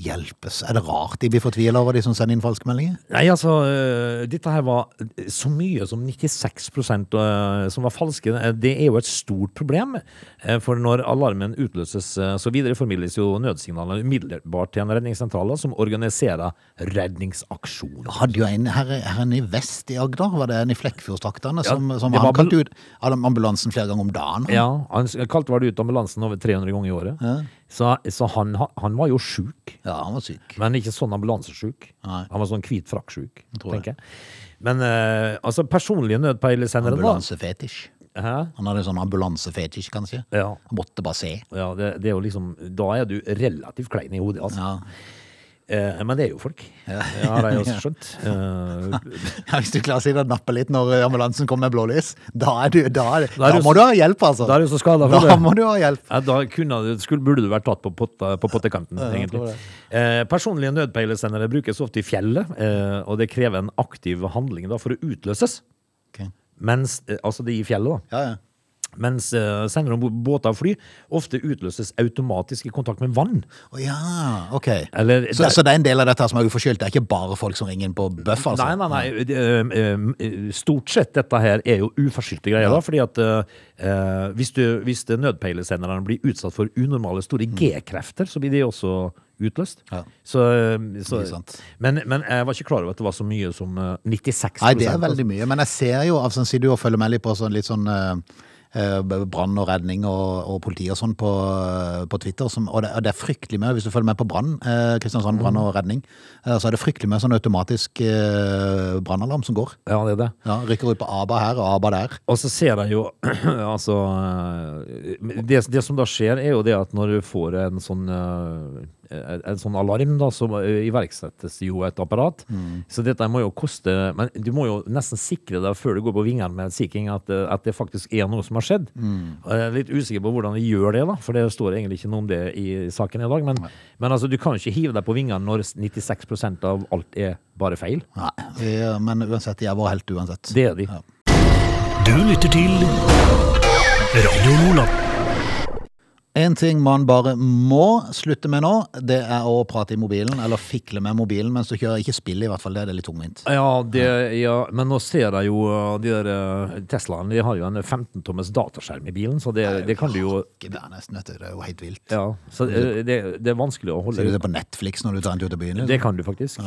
[SPEAKER 1] Hjelpes. Er det rart de blir fortvila over de som sender inn falske meldinger?
[SPEAKER 3] Nei, altså, øh, dette her var øh, så mye som 96 øh, som var falske. Eh, Det er jo et stort problem, eh, for når alarmen utløses, eh, så videreformidles jo nødsignalene umiddelbart til en redningssentral da, som organiserer redningsaksjoner.
[SPEAKER 1] Jeg hadde jo en her, her en i vest i Agder, var det en i Flekkefjordstraktene, som, som
[SPEAKER 3] det
[SPEAKER 1] han
[SPEAKER 3] var bel-
[SPEAKER 1] kalte ut av ambulansen flere ganger om dagen.
[SPEAKER 3] Ja, han s- kalte vel ut ambulansen over 300 ganger i året. Så, så han, ha- han var jo sjuk.
[SPEAKER 1] Ja, han var syk.
[SPEAKER 3] Men ikke sånn ambulansesjuk.
[SPEAKER 1] Nei.
[SPEAKER 3] Han var sånn hvit frakk-sjuk,
[SPEAKER 1] tror det.
[SPEAKER 3] tenker jeg. Men eh, altså, personlige nødpeilesendere, da.
[SPEAKER 1] Ambulansefetisj.
[SPEAKER 3] Hæ?
[SPEAKER 1] Han hadde sånn ambulansefetisj, kanskje.
[SPEAKER 3] Ja.
[SPEAKER 1] Han måtte bare se.
[SPEAKER 3] Ja, det, det er jo liksom Da er du relativt klein i hodet, altså.
[SPEAKER 1] Ja.
[SPEAKER 3] Eh, men det er jo folk. Ja, det har jeg også skjønt. Eh,
[SPEAKER 1] Ja, Hvis du klarer å si det nappe litt når eh, ambulansen kommer med blålys, da, er du, da, er,
[SPEAKER 3] Da
[SPEAKER 1] da,
[SPEAKER 3] er du-
[SPEAKER 1] må du ha hjelp, altså.
[SPEAKER 3] da er du så skada for
[SPEAKER 1] Da
[SPEAKER 3] det.
[SPEAKER 1] må du ha hjelp.
[SPEAKER 3] Ja, da kunne, du- skulle, burde du vært tatt på, potta, på pottekanten, egentlig. Eh, personlige nødpeilesendere brukes ofte i fjellet, eh, og det krever en aktiv handling da, for å utløses.
[SPEAKER 1] Ok.
[SPEAKER 3] Mens, eh, altså de i fjellet, da.
[SPEAKER 1] Ja, ja.
[SPEAKER 3] Mens eh, sendere om bord båter og fly ofte utløses automatisk i kontakt med vann.
[SPEAKER 1] Å, ja, ok.
[SPEAKER 3] Eller-
[SPEAKER 1] så, så det er en del av dette her som er uforskyldt. Det er ikke bare folk som ringer inn på bøff, altså.
[SPEAKER 3] Nei, nei, nei. det, øhm, øhm, øh, Stort sett dette her er jo uforskyldte greier, da. Fordi at øh, øh, hvis, du, hvis det nødpeilesenderne blir utsatt for unormale store G-krefter, så blir de også utløst.
[SPEAKER 1] Mm. Ja.
[SPEAKER 3] Så, øhm, så,
[SPEAKER 1] Mye sant.
[SPEAKER 3] men, men jeg var ikke klar over at det var så mye som øh, 96
[SPEAKER 1] Nei, det er veldig mye, men jeg ser jo av sånn sier du og følger med litt på sånn litt sånn eh, eh, brann og redning og, og politi og sånn på, eh, på Twitter, som, og, det, og det er fryktelig mye, hvis du følger med på brann, eh, Kristiansand brann og redning, eh, så er det fryktelig mye sånn automatisk eh, brannalarm som går.
[SPEAKER 3] Ja, det er det.
[SPEAKER 1] Ja, rykker ut på ABA her og ABA der.
[SPEAKER 3] Og så ser jeg jo Altså øh, det, det som da skjer, er jo det at når du får en sånn øh, en en sånn alarm, da, så øh, iverksettes jo et apparat. Så dette må jo koste Men du må jo nesten sikre deg før du går på vingene med Sea King at, øh, at det faktisk er noe som har skjedd. Og Jeg er litt usikker på hvordan de gjør det, da, for det står egentlig ikke noe om det i saken i dag. Men, men altså, du kan jo ikke hive deg på vingene når 96 av alt er bare feil.
[SPEAKER 1] Nei, vi, eh, men uansett, de er vår helt uansett.
[SPEAKER 3] Det er de.
[SPEAKER 1] Ja.
[SPEAKER 2] Du lytter til Radio Nordland.
[SPEAKER 1] En ting man bare må slutte med nå, det er å prate i mobilen, eller fikle med mobilen mens du kjører. Ikke spill i hvert fall, det er litt tungvint.
[SPEAKER 3] Ja, det, ja, men nå ser jeg jo uh, de der uh, Teslaene de har jo en 15-tommes dataskjerm i bilen, så det, det kan du jo
[SPEAKER 1] Det er nesten, vet du, det er jo helt vilt.
[SPEAKER 3] ja, så uh, det, det er vanskelig å
[SPEAKER 1] Ser du
[SPEAKER 3] holde
[SPEAKER 1] det på Netflix når du tar en tur til byen? liksom?
[SPEAKER 3] Det kan du faktisk.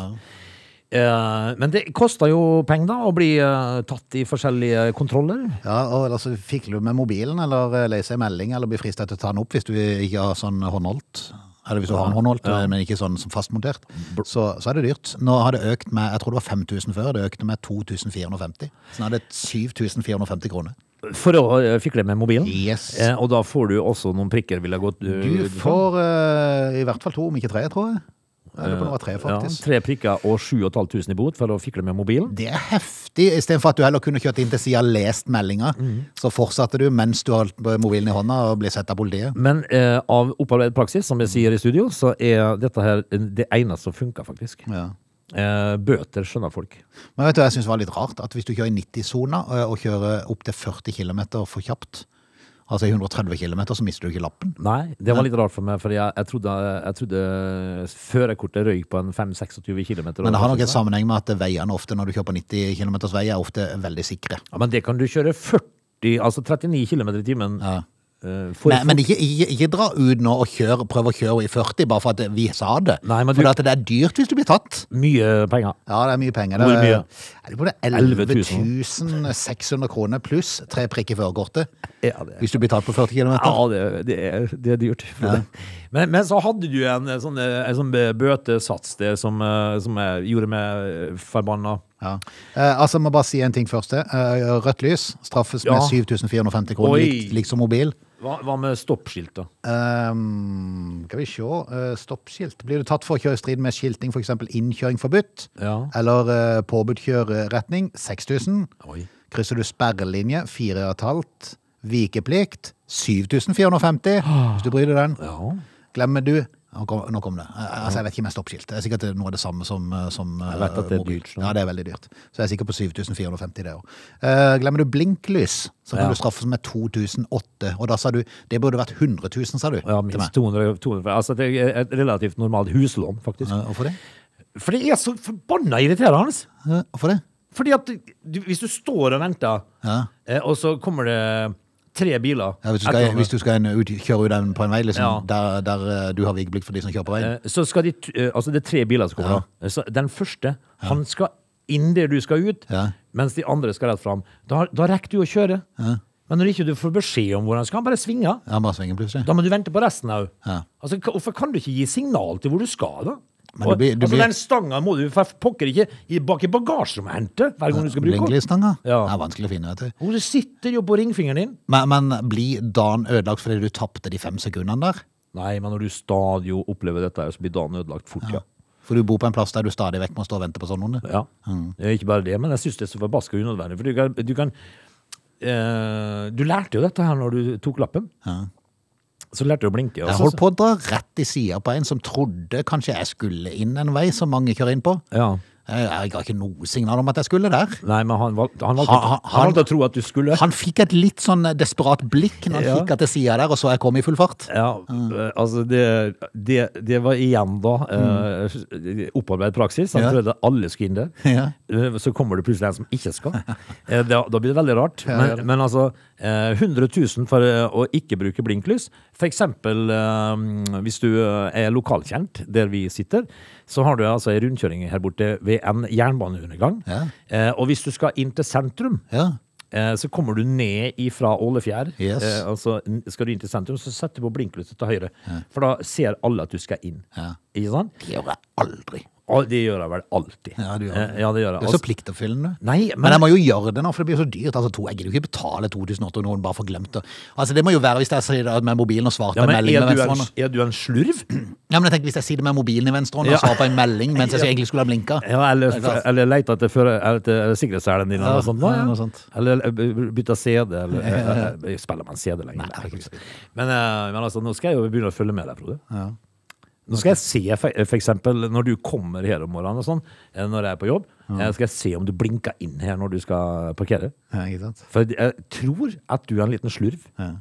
[SPEAKER 3] Eh, men det koster jo penger, da, å bli eh, tatt i forskjellige kontroller.
[SPEAKER 1] Ja, og ellers så fikler du med mobilen, eller eh, leser en melding, eller blir fristet til å ta den opp hvis du ikke har sånn håndholdt. Eller hvis du har en håndholdt, men ikke sånn som fastmontert. Så, så er det dyrt. Nå har det økt med, jeg tror det var 5000 før, det økte med 2450. Så nå er det 7450 kroner.
[SPEAKER 3] For å eh, fikle med mobilen.
[SPEAKER 1] Yes.
[SPEAKER 3] Eh, og da får du også noen prikker, ville jeg gått
[SPEAKER 1] Du får eh, i hvert fall to, om ikke tre, tror jeg. Jeg lurer på om det var tre, faktisk.
[SPEAKER 3] Ja, tre prikker og 7500 i bot for å fikle med mobilen.
[SPEAKER 1] Det er heftig. Istedenfor at du heller kunne kjørt inn til sida og lest meldinga,
[SPEAKER 3] Mhm.
[SPEAKER 1] så fortsatte du mens du holdt mobilen i hånda og ble sett av politiet.
[SPEAKER 3] Men eh, av opparbeidet praksis, som jeg sier i studio, så er dette her eh, det eneste som funker, faktisk.
[SPEAKER 1] Ja.
[SPEAKER 3] Eh, bøter skjønner folk.
[SPEAKER 1] Men vet du, hva jeg synes det var litt rart at hvis du kjører i 90-sona ø, og kjører opp til 40 km for kjapt, altså i 130 km, så mister du ikke lappen.
[SPEAKER 3] Nei, det var litt rart for meg, for jeg, jeg trodde, jeg trodde førerkortet røyk på en 5-26 km.
[SPEAKER 1] Men det har nok en sammenheng med at veiene ofte, når du kjører på 90 km vei, er ofte veldig sikre.
[SPEAKER 3] Ja, men det kan du kjøre 40, altså 39 km i timen.
[SPEAKER 1] Ja.
[SPEAKER 3] eh, for-
[SPEAKER 1] Men, men ikke, ikke, ikke dra ut nå og kjør, prøv å kjøre i 40 bare for at vi sa det.
[SPEAKER 3] Nei, men du-
[SPEAKER 1] For at det er dyrt hvis du blir tatt.
[SPEAKER 3] Mye penger.
[SPEAKER 1] Ja, det er mye penger.
[SPEAKER 3] Hvor mye?
[SPEAKER 1] Jeg lurer på det
[SPEAKER 3] 11
[SPEAKER 1] 11 600 kroner pluss tre prikker førerkortet
[SPEAKER 3] Ja, det,
[SPEAKER 1] hvis du blir tatt på 40 km.
[SPEAKER 3] ja, det, det, er, det er dyrt. Frode. Men, men så hadde du en eh, sånn, eh, en sånn eh, bøtesats der som, eh, som jeg gjorde meg eh, forbanna.
[SPEAKER 1] Ja. Eh, altså, jeg må bare si en ting først. Eh, rødt lys straffes
[SPEAKER 3] Ja.
[SPEAKER 1] med 7450 kroner,
[SPEAKER 3] Oi.
[SPEAKER 1] likt, likt som mobil.
[SPEAKER 3] Hva, hva med stoppskilt, da?
[SPEAKER 1] Ehm, skal vi se. Eh, stoppskilt. Blir du tatt for å kjøre i strid med skilting, f.eks. innkjøring forbudt,
[SPEAKER 3] Ja.
[SPEAKER 1] eller eh, påbudt kjøreretning, 6000.
[SPEAKER 3] Oi.
[SPEAKER 1] Krysser du sperrelinje, 4500. Vikeplikt, 7450, hvis du bryr deg den.
[SPEAKER 3] Ja.
[SPEAKER 1] Glemmer du Nå kom, nå kom det. Eh, Altså, jeg vet ikke om jeg er stoppskilt. Det er sikkert noe av det samme som, eh, som eh,
[SPEAKER 3] Jeg vet at det er
[SPEAKER 1] mobil.
[SPEAKER 3] dyrt, sånn.
[SPEAKER 1] Ja, det er veldig dyrt. Så jeg er sikker på 7450 det òg. Eh, glemmer du blinklys, så kan
[SPEAKER 3] Ja.
[SPEAKER 1] du straffes med 2008. Og da sa du det burde vært 100 000, sa du.
[SPEAKER 3] Ja,
[SPEAKER 1] til
[SPEAKER 3] minst
[SPEAKER 1] meg.
[SPEAKER 3] 200, 200 Altså, det er et relativt normalt huslån, faktisk.
[SPEAKER 1] Eh, Hvorfor det?
[SPEAKER 3] For det er så forbanna irriterende!
[SPEAKER 1] Eh, Hvorfor det?
[SPEAKER 3] Fordi at du, hvis du står og venter,
[SPEAKER 1] Ja.
[SPEAKER 3] eh, og så kommer det tre biler
[SPEAKER 1] Ja, hvis du skal,
[SPEAKER 3] etter
[SPEAKER 1] hvis du skal en, ut, kjøre ut en på en vei liksom,
[SPEAKER 3] Ja.
[SPEAKER 1] der, der eh, du har vikeplikt for de som kjører på veien
[SPEAKER 3] hverandre, eh, Så skal de t- eh, Altså, det er tre biler som kommer, da. Eh, Så den første, han skal inn der du skal ut,
[SPEAKER 1] Ja.
[SPEAKER 3] mens de andre skal rett fram. Da, da rekker du å kjøre. Men når ikke du får beskjed om hvor han skal, han bare svinger.
[SPEAKER 1] Ja, bare svinger plutselig.
[SPEAKER 3] Da må du vente på resten òg.
[SPEAKER 1] Ja.
[SPEAKER 3] Altså, hva- hvorfor kan du ikke gi signal til hvor du skal, da?
[SPEAKER 1] Men du blir- du
[SPEAKER 3] altså,
[SPEAKER 1] blir-
[SPEAKER 3] Den stanga må du for pokker ikke i- bak i bagasjerommet hente hver gang du skal bruke den.
[SPEAKER 1] Blinklysstanga?
[SPEAKER 3] Ja.
[SPEAKER 1] Det er vanskelig å finne, vet du.
[SPEAKER 3] Hvor det sitter jo på ringfingeren din.
[SPEAKER 1] Men, men blir dagen ødelagt fordi du tapte de fem sekundene der?
[SPEAKER 3] Nei, men når du stadig jo opplever dette, her, så blir dagen ødelagt fort, ja.
[SPEAKER 1] For du bor på en plass der du stadig vekk må stå og vente på sånne onde?
[SPEAKER 3] ja. Det er Ikke bare det, men jeg syns det er så forbaska unødvendig. For du kan, du kan eh, Du lærte jo dette her når du tok lappen. Så lærte du å blinke. og
[SPEAKER 1] Jeg
[SPEAKER 3] så-
[SPEAKER 1] holdt på å dra rett i sida på en som trodde kanskje jeg skulle inn en vei som mange kjører inn på.
[SPEAKER 3] Ja.
[SPEAKER 1] Jeg, jeg ga ikke noe signal om at jeg skulle der.
[SPEAKER 3] Nei, men han valgte, han, valgte,
[SPEAKER 1] Han-
[SPEAKER 3] han,
[SPEAKER 1] han-
[SPEAKER 3] valgte å tro at du skulle.
[SPEAKER 1] Han fikk et litt sånn desperat blikk når han
[SPEAKER 3] Ja.
[SPEAKER 1] kikka til sida der og så jeg kom i full fart.
[SPEAKER 3] Ja,
[SPEAKER 1] Mm.
[SPEAKER 3] eh, altså det, det, det var igjen da eh, opparbeidet praksis. Han
[SPEAKER 1] Mm. Ja.
[SPEAKER 3] trodde alle skulle inn der.
[SPEAKER 1] Ja.
[SPEAKER 3] Eh, Så kommer det plutselig en som ikke skal. Eh, Da, da blir det veldig rart.
[SPEAKER 1] ja, ja.
[SPEAKER 3] Men, men altså, eh, 100 000 for eh, å ikke bruke blinklys. For eksempel eh, hvis du eh, er lokalkjent der vi sitter, så har du altså en rundkjøring her borte ved en jernbaneundergang.
[SPEAKER 1] Ja.
[SPEAKER 3] Eh, Og hvis du skal inn til sentrum,
[SPEAKER 1] Ja.
[SPEAKER 3] Eh, Så kommer du ned ifra Ålefjær.
[SPEAKER 1] Yes.
[SPEAKER 3] Eh, altså, n- skal du inn til sentrum, så setter du på blinklyset til høyre. For da ser alle at du skal inn.
[SPEAKER 1] Ja.
[SPEAKER 3] Ikke sant?
[SPEAKER 1] Det gjør jeg aldri.
[SPEAKER 3] Og det gjør jeg vel alltid.
[SPEAKER 1] Ja, du gjør
[SPEAKER 3] Eh,
[SPEAKER 1] det.
[SPEAKER 3] ja, det gjør
[SPEAKER 1] Du
[SPEAKER 3] jeg.
[SPEAKER 1] er så
[SPEAKER 3] Altså,
[SPEAKER 1] pliktoppfyllende.
[SPEAKER 3] nei, men,
[SPEAKER 1] Men jeg må jo gjøre det nå, for det blir så dyrt. Altså, to, jeg gidder jo ikke betale 2800 kroner bare for glemt det. Altså, det må jo være hvis jeg sier det med mobilen og svarer på
[SPEAKER 3] ja,
[SPEAKER 1] en
[SPEAKER 3] men
[SPEAKER 1] melding
[SPEAKER 3] er,
[SPEAKER 1] med
[SPEAKER 3] du altså- en,
[SPEAKER 1] venstrehånda.
[SPEAKER 3] er du en slurv?
[SPEAKER 1] Ja, men jeg tenker hvis jeg sier det med mobilen i venstre hånd og
[SPEAKER 3] Ja.
[SPEAKER 1] svarer på en melding mens jeg
[SPEAKER 3] Ja.
[SPEAKER 1] egentlig skulle ha blinka.
[SPEAKER 3] Ja, eller,
[SPEAKER 1] Det er klart.
[SPEAKER 3] eller leter etter, føre- etter sikkerhetsselen din,
[SPEAKER 1] Ja,
[SPEAKER 3] eller noe sånt. da,
[SPEAKER 1] ja,
[SPEAKER 3] Ja.
[SPEAKER 1] noe sånt.
[SPEAKER 3] Eller eh, b- bytter CD, eller eh, eh, Spiller man CD lenger?
[SPEAKER 1] det er ikke sant.
[SPEAKER 3] men, eh, men altså, nå skal jeg jo begynne å følge med deg, Frode. Nå skal jeg se, for, eh, for eksempel, når du kommer her om morgenen og sånn, eh, når jeg er på jobb, eh, skal jeg se om du blinker inn her når du skal parkere.
[SPEAKER 1] Ja, ikke sant?
[SPEAKER 3] For jeg tror at du er en liten slurv.
[SPEAKER 1] Ja.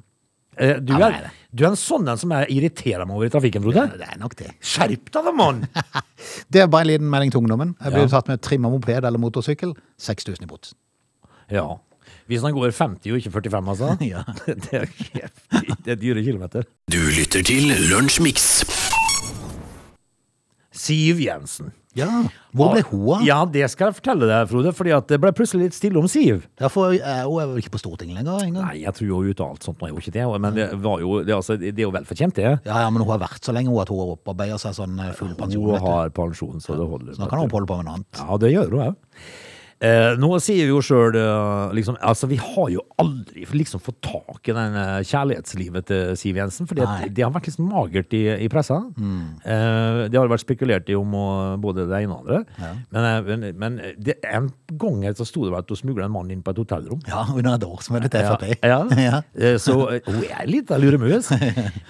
[SPEAKER 3] Eh, Du
[SPEAKER 1] Ja, men er
[SPEAKER 3] er,
[SPEAKER 1] det?
[SPEAKER 3] du er en sånn en som jeg irriterer meg over i trafikken, Frode.
[SPEAKER 1] Det er nok det.
[SPEAKER 3] Skjerp deg da, mann!
[SPEAKER 1] Det er bare en liten melding til ungdommen. Jeg blir
[SPEAKER 3] Ja.
[SPEAKER 1] tatt med trimma moped eller motorsykkel. 6000 i bot.
[SPEAKER 3] Ja. Hvis han går 50 og ikke 45, altså.
[SPEAKER 1] Ja.
[SPEAKER 3] Det er, heftig. det er dyre kilometer.
[SPEAKER 2] Du lytter til Lunsjmix.
[SPEAKER 3] Siv Jensen.
[SPEAKER 1] Ja, Hvor ble hun av?
[SPEAKER 3] Ja, det skal jeg fortelle deg, Frode, fordi at det ble plutselig litt stille om Siv.
[SPEAKER 1] Derfor er eh, hun er vel ikke på Stortinget lenger engang.
[SPEAKER 3] Nei, jeg tror jo ut av alt sånt, nå er jo ikke det, men det, var jo, det, er altså, det er jo velfortjent, det.
[SPEAKER 1] Ja, ja, men hun har vært så lenge hun at hun har opparbeidet seg sånn eh, full pensjon.
[SPEAKER 3] Hun
[SPEAKER 1] vet du.
[SPEAKER 3] har pensjon, så det holder.
[SPEAKER 1] Så nå kan hun holde på med noe annet.
[SPEAKER 3] Ja, det gjør hun òg. Eh, nå sier vi jo sjøl liksom, altså, Vi har jo aldri liksom fått tak i den eh, kjærlighetslivet til Siv Jensen. For
[SPEAKER 1] Nei.
[SPEAKER 3] det har vært liksom magert i, i pressa. Eh, det har vært spekulert i om og, både det ene og det andre. Men, eh, men, men det, en gang her så sto det vel at hun smugla en mann inn på et hotellrom.
[SPEAKER 1] Ja, under et årsmøte til Frp.
[SPEAKER 3] Ja, ja.
[SPEAKER 1] Ja.
[SPEAKER 3] Eh, Så eh, hun er litt av luremus.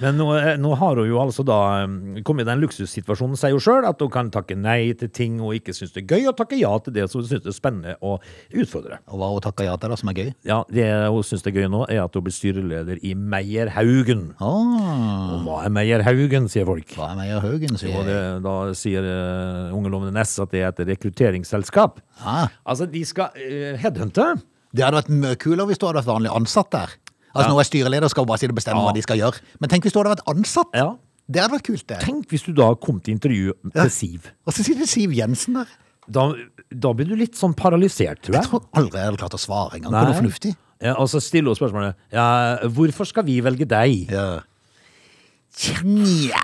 [SPEAKER 3] Men nå, eh, nå har hun jo altså da eh, kommet i den luksussituasjonen, sier hun sjøl, at hun kan takke nei til ting hun ikke syns det er gøy, og takke ja til det som hun syns er spennende og utfordre.
[SPEAKER 1] Og hva hun takker ja til, da, som er gøy.
[SPEAKER 3] Ja, Det hun syns det er gøy nå, er at hun blir styreleder i Meierhaugen.
[SPEAKER 1] Åh,
[SPEAKER 3] Og Hva er Meierhaugen, sier folk.
[SPEAKER 1] hva er Meyer Haugen, sier jeg.
[SPEAKER 3] Og det, da sier eh, Ungelovene Ness at det er et rekrutteringsselskap.
[SPEAKER 1] Ja.
[SPEAKER 3] Altså, de skal eh, headhunte.
[SPEAKER 1] Det hadde vært mye kulere hvis du hadde vært vanlig ansatt der. Altså Nå er styreleder skal bare si det bestemmer
[SPEAKER 3] Ja.
[SPEAKER 1] hva de skal gjøre. Men tenk hvis du hadde vært ansatt!
[SPEAKER 3] Ja.
[SPEAKER 1] Det hadde vært kult, det.
[SPEAKER 3] Tenk hvis du da kom til intervju til Siv.
[SPEAKER 1] Og så sitter Siv Jensen der.
[SPEAKER 3] da, da blir du litt sånn paralysert, tror
[SPEAKER 1] Jeg
[SPEAKER 3] jeg.
[SPEAKER 1] tror aldri jeg hadde klart å svare engang på
[SPEAKER 3] Nei.
[SPEAKER 1] noe fornuftig.
[SPEAKER 3] Ja, og så stiller hun spørsmålet ja, 'Hvorfor skal vi velge deg?'
[SPEAKER 1] Ja. Nja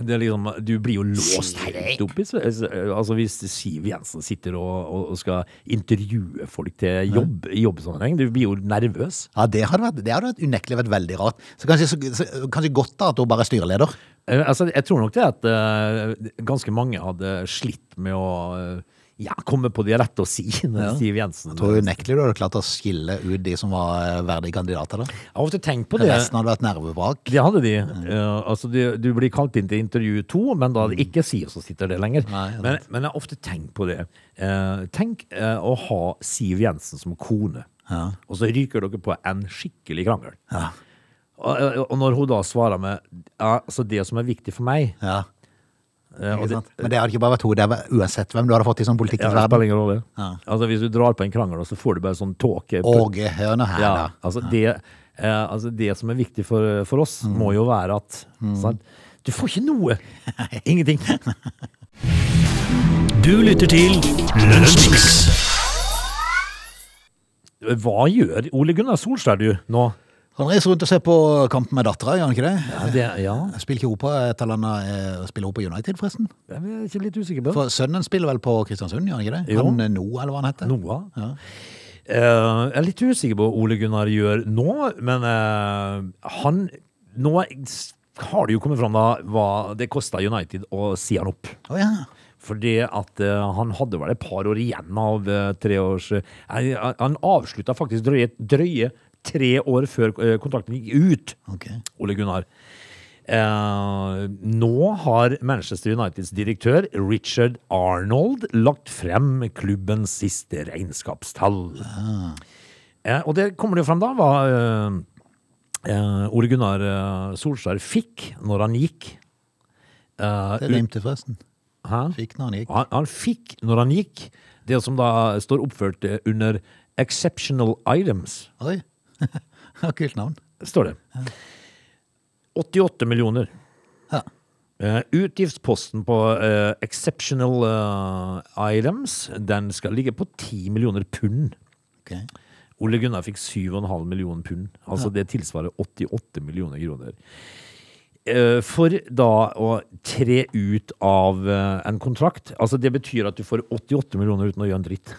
[SPEAKER 3] Det er liksom, du blir jo låst
[SPEAKER 1] Sier
[SPEAKER 3] helt opp i s- s- Altså Hvis Siv Jensen sitter og, og, og skal intervjue folk til jobb i jobbsammenheng, du blir jo nervøs.
[SPEAKER 1] Ja, det hadde, vært, det hadde vært unektelig vært veldig rart. Så kanskje, så, så, kanskje godt da at hun bare er styreleder.
[SPEAKER 3] Eh, Altså, jeg tror nok det at eh, ganske mange hadde slitt med å eh, ja, komme på det rette å si når Siv Jensen
[SPEAKER 1] Jeg tror unektelig du hadde klart å skille ut de som var eh, verdige kandidater. da.
[SPEAKER 3] Jeg har ofte tenkt på det.
[SPEAKER 1] Resten hadde vært nervevrak.
[SPEAKER 3] Det hadde de. Eh, altså de. Du blir kalt inn til intervju to, men da er det ikke Siv som sitter der lenger.
[SPEAKER 1] Mm. Nei, det er
[SPEAKER 3] men, men jeg har ofte tenkt på det. Eh, tenk eh, å ha Siv Jensen som kone, og så ryker dere på en skikkelig krangel.
[SPEAKER 1] Ja.
[SPEAKER 3] Og, eh, og når hun da svarer med ja, altså 'det som er viktig for meg'
[SPEAKER 1] Ja,
[SPEAKER 3] eh,
[SPEAKER 1] ikke
[SPEAKER 3] og det-
[SPEAKER 1] sant? Men det hadde ikke bare vært hun, det hadde vært uansett hvem du hadde fått i sånn
[SPEAKER 3] ja,
[SPEAKER 1] politikkens
[SPEAKER 3] det
[SPEAKER 1] verden.
[SPEAKER 3] spiller ingen rolle.
[SPEAKER 1] Ja.
[SPEAKER 3] Altså, hvis du drar på en krangel, og så får du bare sånn tåke
[SPEAKER 1] Åge Høne her,
[SPEAKER 3] Ja,
[SPEAKER 1] da.
[SPEAKER 3] altså det, eh, altså det som er viktig for, for oss,
[SPEAKER 1] Mm.
[SPEAKER 3] må jo være at sant? Du får ikke noe! Ingenting.
[SPEAKER 2] Du lytter til Lunsjmix.
[SPEAKER 3] Hva gjør Ole Gunnar Solskjær du nå?
[SPEAKER 1] Han reiser rundt og ser på kampen med dattera, gjør han ikke det?
[SPEAKER 3] Ja, det, ja.
[SPEAKER 1] Spiller ikke hun på et eller annet eh, Spiller hun på United, forresten?
[SPEAKER 3] Jeg er ikke litt usikker på det.
[SPEAKER 1] For sønnen spiller vel på Kristiansund, gjør han ikke det?
[SPEAKER 3] Jo.
[SPEAKER 1] Han eh, No, eller hva han heter.
[SPEAKER 3] Noah. Eh, jeg er litt usikker på hva Ole Gunnar gjør nå, men eh, han Nå har det jo kommet fram da hva det kosta United å si han opp.
[SPEAKER 1] Å ja.
[SPEAKER 3] Fordi at eh, han hadde vel et par år igjen av eh, tre års eh, nei, Han avslutta faktisk drøye, drøye tre år før eh, kontrakten gikk ut,
[SPEAKER 1] Ok.
[SPEAKER 3] Ole Gunnar. Eh, nå har Manchester Uniteds direktør Richard Arnold lagt frem klubbens siste regnskapstall.
[SPEAKER 1] Ah.
[SPEAKER 3] Eh, og det kommer det jo frem da hva eh, eh, Ole Gunnar eh, Solskjær fikk når han gikk. Eh,
[SPEAKER 1] Det rimte, forresten.
[SPEAKER 3] Hæ?
[SPEAKER 1] Fikk når han gikk.
[SPEAKER 3] Han, han fikk, når han gikk, det som da står oppført eh, under exceptional items,
[SPEAKER 1] Oi. Ja, Kult navn.
[SPEAKER 3] står det. 88 millioner.
[SPEAKER 1] Ja.
[SPEAKER 3] Eh, utgiftsposten på eh, exceptional eh, items, den skal ligge på 10 millioner pund.
[SPEAKER 1] Ok.
[SPEAKER 3] Ole Gunnar fikk 7,5 millioner pund. Altså det tilsvarer 88 millioner kroner. Eh, For da å tre ut av eh, en kontrakt Altså det betyr at du får 88 millioner uten å gjøre en dritt.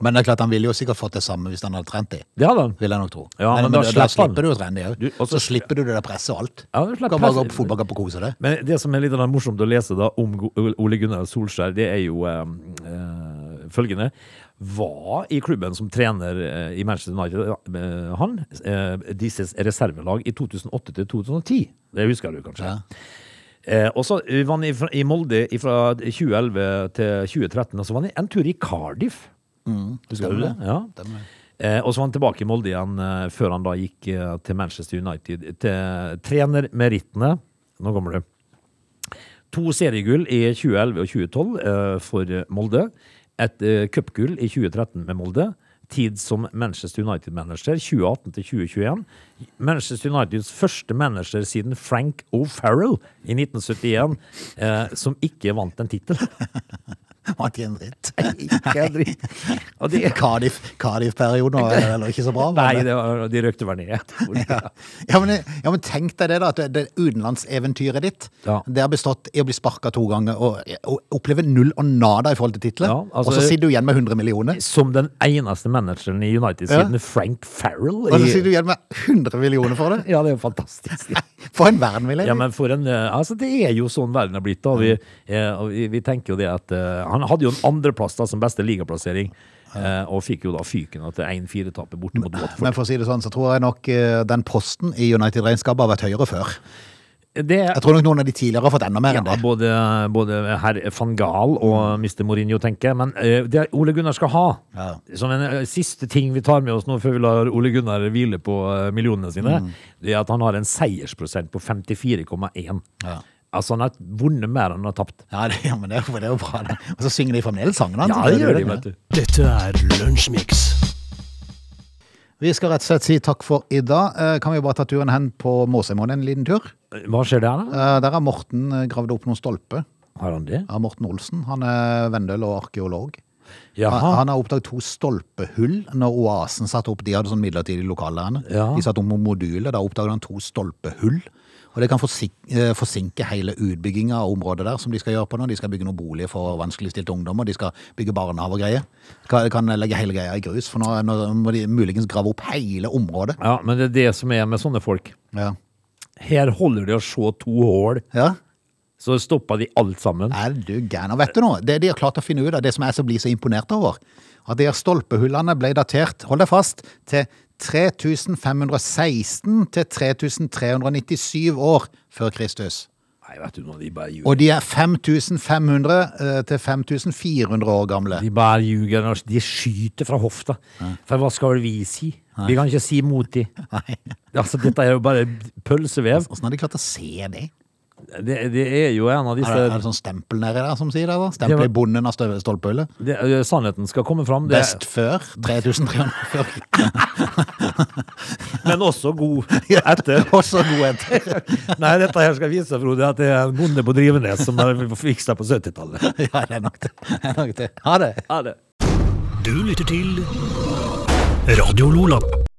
[SPEAKER 1] Men det er klart, han ville jo sikkert fått det samme hvis han hadde trent de.
[SPEAKER 3] Det hadde han.
[SPEAKER 1] Vil jeg nok tro.
[SPEAKER 3] Ja, men da
[SPEAKER 1] da
[SPEAKER 3] slipper han.
[SPEAKER 1] slipper du å trene de òg.
[SPEAKER 3] Du- og
[SPEAKER 1] Så
[SPEAKER 3] så-
[SPEAKER 1] slipper du det der presset og alt.
[SPEAKER 3] Ja,
[SPEAKER 1] du
[SPEAKER 3] du slipper
[SPEAKER 1] kan bare gå
[SPEAKER 3] presset.
[SPEAKER 1] på fotballkamp og kose deg.
[SPEAKER 3] Men det som er litt morsomt å lese da om Go- Ole Gunnar Solskjær, det er jo eh, eh, følgende. Var i klubben som trener eh, i Manchester United, eh, han, eh, disses reservelag i 2008 til 2010. Det husker du kanskje. Eh, og så var han i, i Molde fra 2011 til 2013, og så var han en tur i Cardiff. husker du Mm. det? Ja.
[SPEAKER 1] Stemmer det.
[SPEAKER 3] Eh, og så var han tilbake i Molde igjen eh, før han da gikk eh, til Manchester United. Til eh, trenermerittene Nå kommer du. To seriegull i 2011 og 2012 eh, for Molde. Et eh, cupgull i 2013 med Molde. tid som Manchester United-manager, 2018 til 2021. Manchester Uniteds første manager siden Frank O'Farrell i 1971, eh, som ikke vant en tittel.
[SPEAKER 1] Var ikke en dritt.
[SPEAKER 3] Ikke en dritt. Og det,
[SPEAKER 1] Cardiff- Cardiff-perioden var heller ikke så bra. var
[SPEAKER 3] nei, det var, de røkte vel ned. etterpå.
[SPEAKER 1] Ja. Ja, men, ja, men tenk deg det, da. At det, det utenlandseventyret ditt
[SPEAKER 3] Ja.
[SPEAKER 1] Det har bestått i å bli sparka to ganger og, og oppleve null og nada i forhold til titler.
[SPEAKER 3] Ja, altså-
[SPEAKER 1] og så sitter du igjen med 100 millioner.
[SPEAKER 3] Som den eneste manageren i United
[SPEAKER 1] Ja.
[SPEAKER 3] siden Frank Farrell.
[SPEAKER 1] Og så
[SPEAKER 3] i-
[SPEAKER 1] sitter du igjen med 100 millioner for det!
[SPEAKER 3] Ja, det er jo fantastisk.
[SPEAKER 1] For en verden vi lever
[SPEAKER 3] Ja,
[SPEAKER 1] i!
[SPEAKER 3] men for en, eh, altså Det er jo sånn verden har blitt. da Vi, eh, og vi, vi tenker jo det at eh, Han hadde jo en andreplass da som beste ligaplassering, eh, og fikk jo da fyken at 1-4-tapet borte mot Watford.
[SPEAKER 1] Men for å si det sånn, så tror jeg nok eh, den posten i United-regnskapet har vært høyere før.
[SPEAKER 3] Det,
[SPEAKER 1] Jeg tror nok noen av de tidligere har fått enda mer
[SPEAKER 3] ja, Mm.
[SPEAKER 1] enn det.
[SPEAKER 3] både, både herr van Gaal og Mr. Mourinho, tenker jeg. Men eh, det Ole Gunnar skal ha,
[SPEAKER 1] Ja.
[SPEAKER 3] som en eh, siste ting vi tar med oss nå før vi lar Ole Gunnar hvile på eh, millionene sine, det er at han har en seiersprosent på 54,1.
[SPEAKER 1] Ja.
[SPEAKER 3] Altså han har vunnet mer enn han har tapt.
[SPEAKER 1] Ja, det, ja, men det, er jo- det er jo bra, det. Og så synger de fremdeles sangen hans.
[SPEAKER 3] Ja, det gjør de, vet du.
[SPEAKER 2] Dette er Lunsjmix.
[SPEAKER 1] Vi skal rett og slett si takk for i dag. Eh, Kan vi bare ta turen hen på Måseimoen en liten tur?
[SPEAKER 3] Hva skjer der, da?
[SPEAKER 1] Eh, Der har Morten eh, gravd opp noen stolper.
[SPEAKER 3] Har han det?
[SPEAKER 1] Ja, Morten Olsen. Han er vendel og arkeolog. Han,
[SPEAKER 3] Jaha.
[SPEAKER 1] han har oppdaget to stolpehull når Oasen satte opp De hadde sånn midlertidig lokalærende.
[SPEAKER 3] Ja.
[SPEAKER 1] De satte opp noen moduler. Da oppdaget han to stolpehull. Og det kan forsink- eh, forsinke hele utbygginga av området der, som de skal gjøre på nå. De skal bygge noen boliger for vanskeligstilte ungdommer. De skal bygge barnehage og greier. Kan, kan legge hele greia i grus, for nå, nå må de muligens grave opp hele området.
[SPEAKER 3] Ja, men det er det som er med sånne folk.
[SPEAKER 1] Ja.
[SPEAKER 3] Her holder de å se to hull,
[SPEAKER 1] ja.
[SPEAKER 3] så stopper de alt sammen.
[SPEAKER 1] Er du gæren? Og Vet du noe? Det de har klart å finne ut av, det som jeg så blir så imponert over, at de her stolpehullene ble datert, hold deg fast, til 3516 til 3397 år før Kristus.
[SPEAKER 3] Nei, vet du noe, de bare ljuger.
[SPEAKER 1] Og de er 5500 eh, til 5400 år gamle.
[SPEAKER 3] De bare ljuger. Lars. De skyter fra hofta. For hva skal vi si? Vi kan ikke si mot de.
[SPEAKER 1] Nei,
[SPEAKER 3] Altså, dette er jo bare pølsevev.
[SPEAKER 1] Åssen har de klart å se det?
[SPEAKER 3] Det, det er jo en
[SPEAKER 1] Er
[SPEAKER 3] av
[SPEAKER 1] det, er
[SPEAKER 3] disse
[SPEAKER 1] det sånn stempel nedi der som sier det? da? Stempel i bonden av støv- stolpehullet?
[SPEAKER 3] det, Sannheten skal komme fram. Det,
[SPEAKER 1] Best før 3300 før.
[SPEAKER 3] men også god etter.
[SPEAKER 1] Også god etter.
[SPEAKER 3] Nei, dette her skal vise, Frode, at det er en bonde på Drivenes som har fiksa på 70-tallet.
[SPEAKER 1] Ja, det er nok det. det, er nok det. Ha det.
[SPEAKER 3] Ha det.
[SPEAKER 2] Du lytter til Radio Lola.